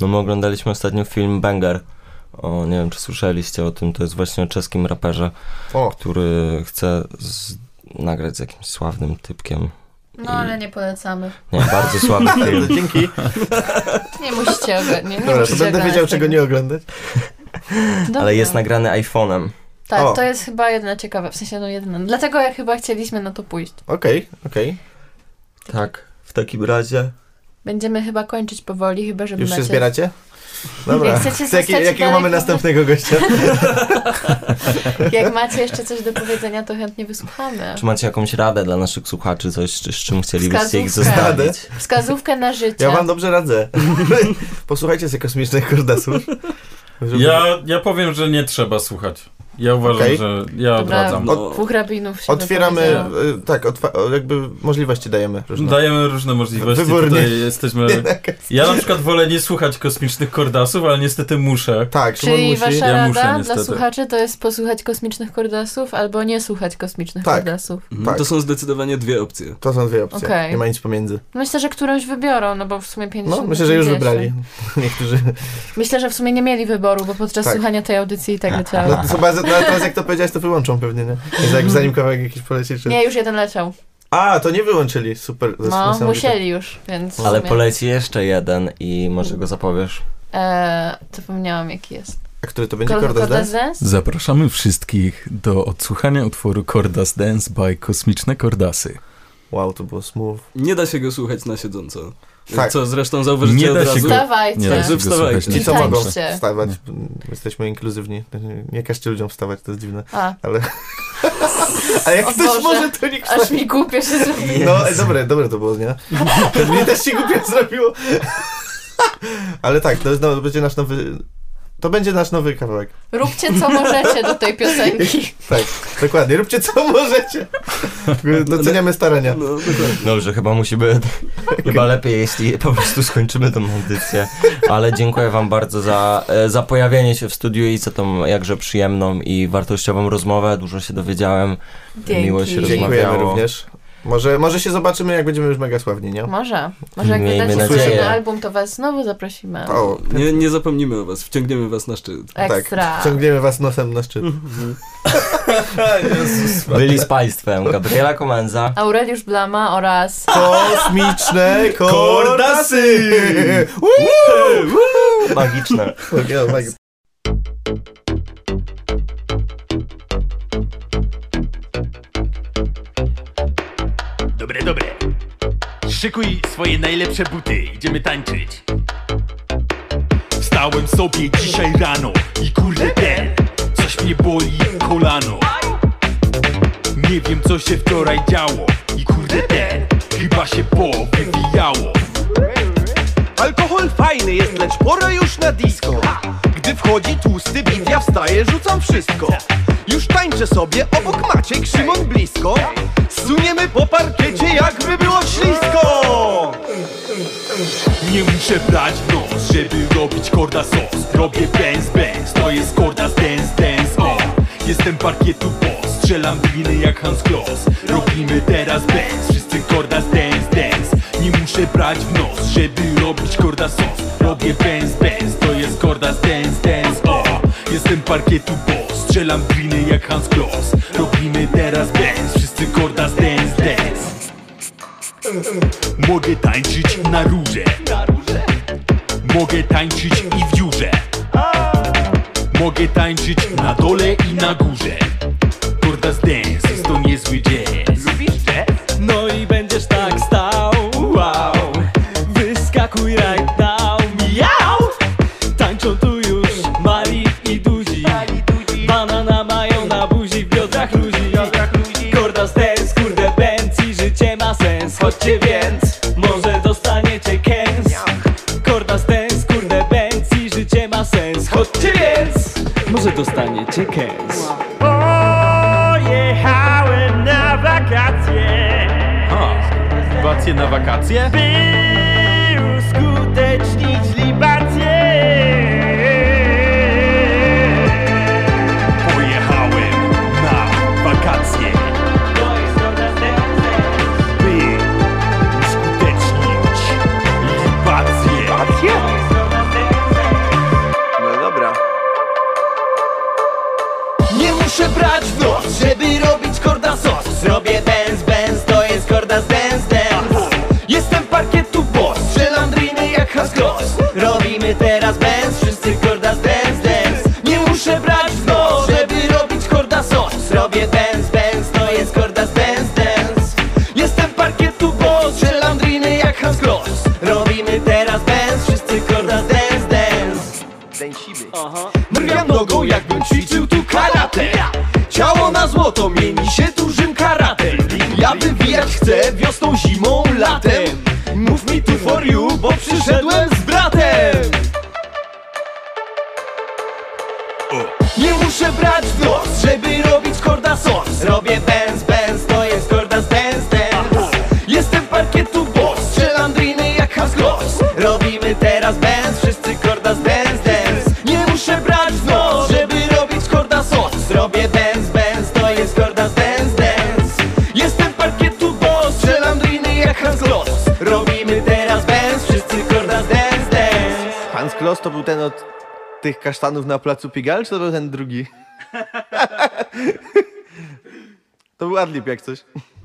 Speaker 2: No my oglądaliśmy ostatnio film Banger. O, nie wiem, czy słyszeliście o tym, to jest właśnie o czeskim raperze,
Speaker 3: O,
Speaker 2: który chce z... nagrać z jakimś sławnym typkiem.
Speaker 1: No ale nie polecamy.
Speaker 2: Nie, bardzo
Speaker 1: [LAUGHS]
Speaker 2: słaby film.
Speaker 3: dzięki.
Speaker 1: Nie musicie oglądać. Nie, nie
Speaker 3: Dobra, to
Speaker 1: musicie
Speaker 3: będę
Speaker 1: oglądać
Speaker 3: wiedział, czego
Speaker 1: tego.
Speaker 3: nie oglądać.
Speaker 1: Dobra.
Speaker 2: Ale jest nagrany iPhone'em.
Speaker 1: Tak,
Speaker 3: O.
Speaker 1: to jest chyba jedna ciekawa, w sensie no jedna. Dlatego jak chyba chcieliśmy na to pójść.
Speaker 3: Okej, okej.
Speaker 2: Tak. W takim razie.
Speaker 1: Będziemy chyba kończyć powoli, chyba że
Speaker 3: Już
Speaker 1: macie...
Speaker 3: się zbieracie?
Speaker 1: Jak [LAUGHS]
Speaker 3: Dobra.
Speaker 1: chcecie
Speaker 3: To Jaki,
Speaker 1: zostać
Speaker 3: jakiego
Speaker 1: daleko-
Speaker 3: mamy następnego gościa?
Speaker 1: [LAUGHS] Jak macie jeszcze coś do powiedzenia, to chętnie wysłuchamy.
Speaker 2: Czy macie jakąś radę dla naszych słuchaczy, coś, czy- z czym chcielibyście ich
Speaker 1: Wskazówkę.
Speaker 2: zostawić?
Speaker 1: Wskazówkę na życie.
Speaker 3: Ja wam dobrze radzę. [LAUGHS] Posłuchajcie sobie kosmicznych kordasów. Żeby-
Speaker 5: Ja, ja powiem, że nie trzeba słuchać. Ja uważam,
Speaker 3: Okej.
Speaker 5: że ja
Speaker 1: Dobra.
Speaker 5: odradzam.
Speaker 4: No,
Speaker 1: Dwóch rabinów się
Speaker 3: Otwieramy,
Speaker 1: wypowiedziało.
Speaker 3: y, tak, otwa- o, jakby możliwości dajemy. różne.
Speaker 5: Dajemy różne możliwości,
Speaker 3: Wybornie. [LAUGHS]
Speaker 5: tutaj jesteśmy... Ja na przykład wolę nie słuchać kosmicznych kordasów, ale niestety muszę.
Speaker 3: Tak, Szymon
Speaker 1: Czyli
Speaker 3: musi.
Speaker 1: wasza
Speaker 5: Ja muszę,
Speaker 1: rada dla
Speaker 5: niestety.
Speaker 1: słuchaczy to jest posłuchać kosmicznych kordasów albo nie słuchać kosmicznych
Speaker 3: Tak.
Speaker 1: kordasów.
Speaker 4: Mhm.
Speaker 3: Tak.
Speaker 4: To są zdecydowanie dwie opcje.
Speaker 3: To są dwie opcje,
Speaker 1: Okej.
Speaker 3: nie ma nic pomiędzy.
Speaker 1: Myślę, że którąś wybiorą, no bo w sumie 50
Speaker 3: No, myślę, że już
Speaker 1: 50.
Speaker 3: wybrali [LAUGHS] niektórzy.
Speaker 1: Myślę, że w sumie nie mieli wyboru, bo podczas
Speaker 3: Tak.
Speaker 1: słuchania tej audycji i tak leciało.
Speaker 3: No, to chyba, za- no, ale teraz jak to powiedziałeś, to wyłączą pewnie, nie? Więc jak zanim kawałek jakiś poleci, czy...
Speaker 1: Nie, już jeden leciał.
Speaker 3: A, to nie wyłączyli, super. to jest
Speaker 1: No,
Speaker 3: niesamowite.
Speaker 1: musieli już, więc. w
Speaker 2: Ale
Speaker 1: sumie-
Speaker 2: poleci jeszcze jeden i może go zapowiesz.
Speaker 1: E, zapomniałam jaki jest.
Speaker 3: A który to będzie kordas dance?
Speaker 1: Dance?
Speaker 5: Zapraszamy wszystkich do odsłuchania utworu Kordas Dance by Kosmiczne Kordasy.
Speaker 3: Wow, to było smooth.
Speaker 4: Nie da się go słuchać na siedząco.
Speaker 3: Tak.
Speaker 4: Co zresztą zauważycie
Speaker 5: Nie da
Speaker 4: od
Speaker 5: się
Speaker 4: razu.
Speaker 5: go-
Speaker 1: Dawajcie.
Speaker 5: Nie, tak.
Speaker 4: Także wstawajcie.
Speaker 5: wstawajcie.
Speaker 3: Ci co mogą
Speaker 1: Tańczcie.
Speaker 3: wstawać, jesteśmy inkluzywni. Nie każcie ludziom wstawać, to jest dziwne.
Speaker 1: A, [LAUGHS]
Speaker 3: A jak
Speaker 1: O
Speaker 3: ktoś
Speaker 1: Boże.
Speaker 3: może, to nikt
Speaker 1: aż mi głupio się zrobiło.
Speaker 3: No, e, dobre, dobre to było,
Speaker 1: [LAUGHS]
Speaker 3: nie? Mnie też się głupio zrobiło. Ale tak, to, jest, no, to będzie nasz nowy... To będzie nasz nowy kawałek.
Speaker 1: Róbcie co możecie do tej
Speaker 3: [LAUGHS]
Speaker 1: piosenki.
Speaker 3: Tak, dokładnie. Róbcie co możecie. Doceniamy starania.
Speaker 4: No, dokładnie.
Speaker 2: Dobrze, chyba musi być.
Speaker 1: [LAUGHS]
Speaker 2: Chyba lepiej, jeśli po prostu skończymy tą audycję. Ale dziękuję Wam bardzo za, e, za pojawienie się w studiu i za tą jakże przyjemną i wartościową rozmowę. Dużo się dowiedziałem.
Speaker 1: Dzięki.
Speaker 2: Miło się rozmawia-
Speaker 3: Dziękujemy
Speaker 2: Rozmawiało.
Speaker 3: również. Może, może się zobaczymy, jak będziemy już mega sławni, nie?
Speaker 1: Może. Może jak
Speaker 2: Miejmy
Speaker 1: wydacie
Speaker 2: nadzieję.
Speaker 1: następny album, to was znowu zaprosimy.
Speaker 3: O,
Speaker 4: Nie, nie zapomnimy o was, wciągniemy was na szczyt.
Speaker 1: Ekstra.
Speaker 3: tak. Mhm. Ciągniemy was nosem na szczyt. [LAUGHS]
Speaker 2: Byli z Państwem Gabriela Komenza.
Speaker 1: Aureliusz Blama oraz...
Speaker 3: Kosmiczne kordasy!
Speaker 2: Magiczne.
Speaker 3: Uuu!
Speaker 7: Dobre, dobre. Szykuj swoje najlepsze buty, idziemy tańczyć. Stałem sobie dzisiaj rano i kurde ten, coś mnie boli w kolano. Nie wiem co się wczoraj działo i kurde ten, chyba się powywijało.
Speaker 8: Alkohol fajny jest, lecz pora już na disco Gdy wchodzi tłusty bit, ja wstaję, rzucam wszystko Już tańczę sobie, obok Maciek, Szymon blisko Suniemy po parkiecie, jakby było ślisko
Speaker 7: Nie muszę brać w nos, żeby robić korda sos Robię benz, benz, to jest korda z dance, dance, o
Speaker 5: Jestem parkietu boss Strzelam gliny jak Hans Kloss Robimy teraz bez Wszyscy kordas dance dance Nie muszę brać w nos Żeby robić korda sos Robię benz benz To jest kordas dance dance o Jestem parkietu boss Strzelam gliny jak Hans Kloss Robimy teraz benz Wszyscy kordas dance dance Mogę tańczyć na rurze Mogę tańczyć i w dziurze Mogę tańczyć na dole i na górze Kordas dance, jest to niezły jazz Lubisz jazz?
Speaker 4: No i będziesz tak stał Wow Wyskakuj right now Miau Tańczą tu już Mali i Duzi Banana mają na buzi W biodrach ludzi Korda z dance, kurde benz I życie ma sens Chodźcie więc Może dostaniecie kęs Korda z dance, kurde benz I życie ma sens Chodźcie więc Może dostaniecie kęs
Speaker 7: Pojechałem na wakacje
Speaker 5: Wakacje na wakacje?
Speaker 7: By uskutecznić libację
Speaker 5: Pojechałem na wakacje
Speaker 4: To jest korda z dance
Speaker 5: By uskutecznić libacje
Speaker 3: No dobra.
Speaker 6: Nie muszę brać w nos, żeby robić korda sos Zrobię benz, benz, to jest korda z dance, dance Jestem parkietu boss, strzelam driny jak Hans Gross Robimy teraz benz, wszyscy korda z dance, dance Nie muszę brać w nos, żeby robić korda sos Zrobię benz, benz, to jest korda z dance, dance Jestem parkietu boss, strzelam driny jak Hans Gross Robimy teraz benz, wszyscy korda z dance, dance
Speaker 3: Dęsiwy.
Speaker 6: Mrwiam nogą jakbym ćwiczył tu karate Ciało na złoto mieni się dużym karatem Ja wywijać chcę wiosną, zimą, latem Mów mi tu for you, bo przyszedłem z bratem Nie muszę brać w nos, żeby robić korda sos Robię benz, benz, to jest korda z dance, dance Jestem parkietu boss, strzelam driny jak Hans Gross Robimy teraz benz, wszyscy korda z dance, dance Nie muszę brać w nos, żeby robić korda sos Zrobię benz, benz, to jest korda z dance, dance Jestem parkietu boss, strzelam driny jak Hans Gross Robimy teraz benz, wszyscy korda z dance, dance
Speaker 3: Hans Kloss to był ten od tych kasztanów na placu Pigal, czy to [LAUGHS] był ten drugi? to był Adlib jak coś.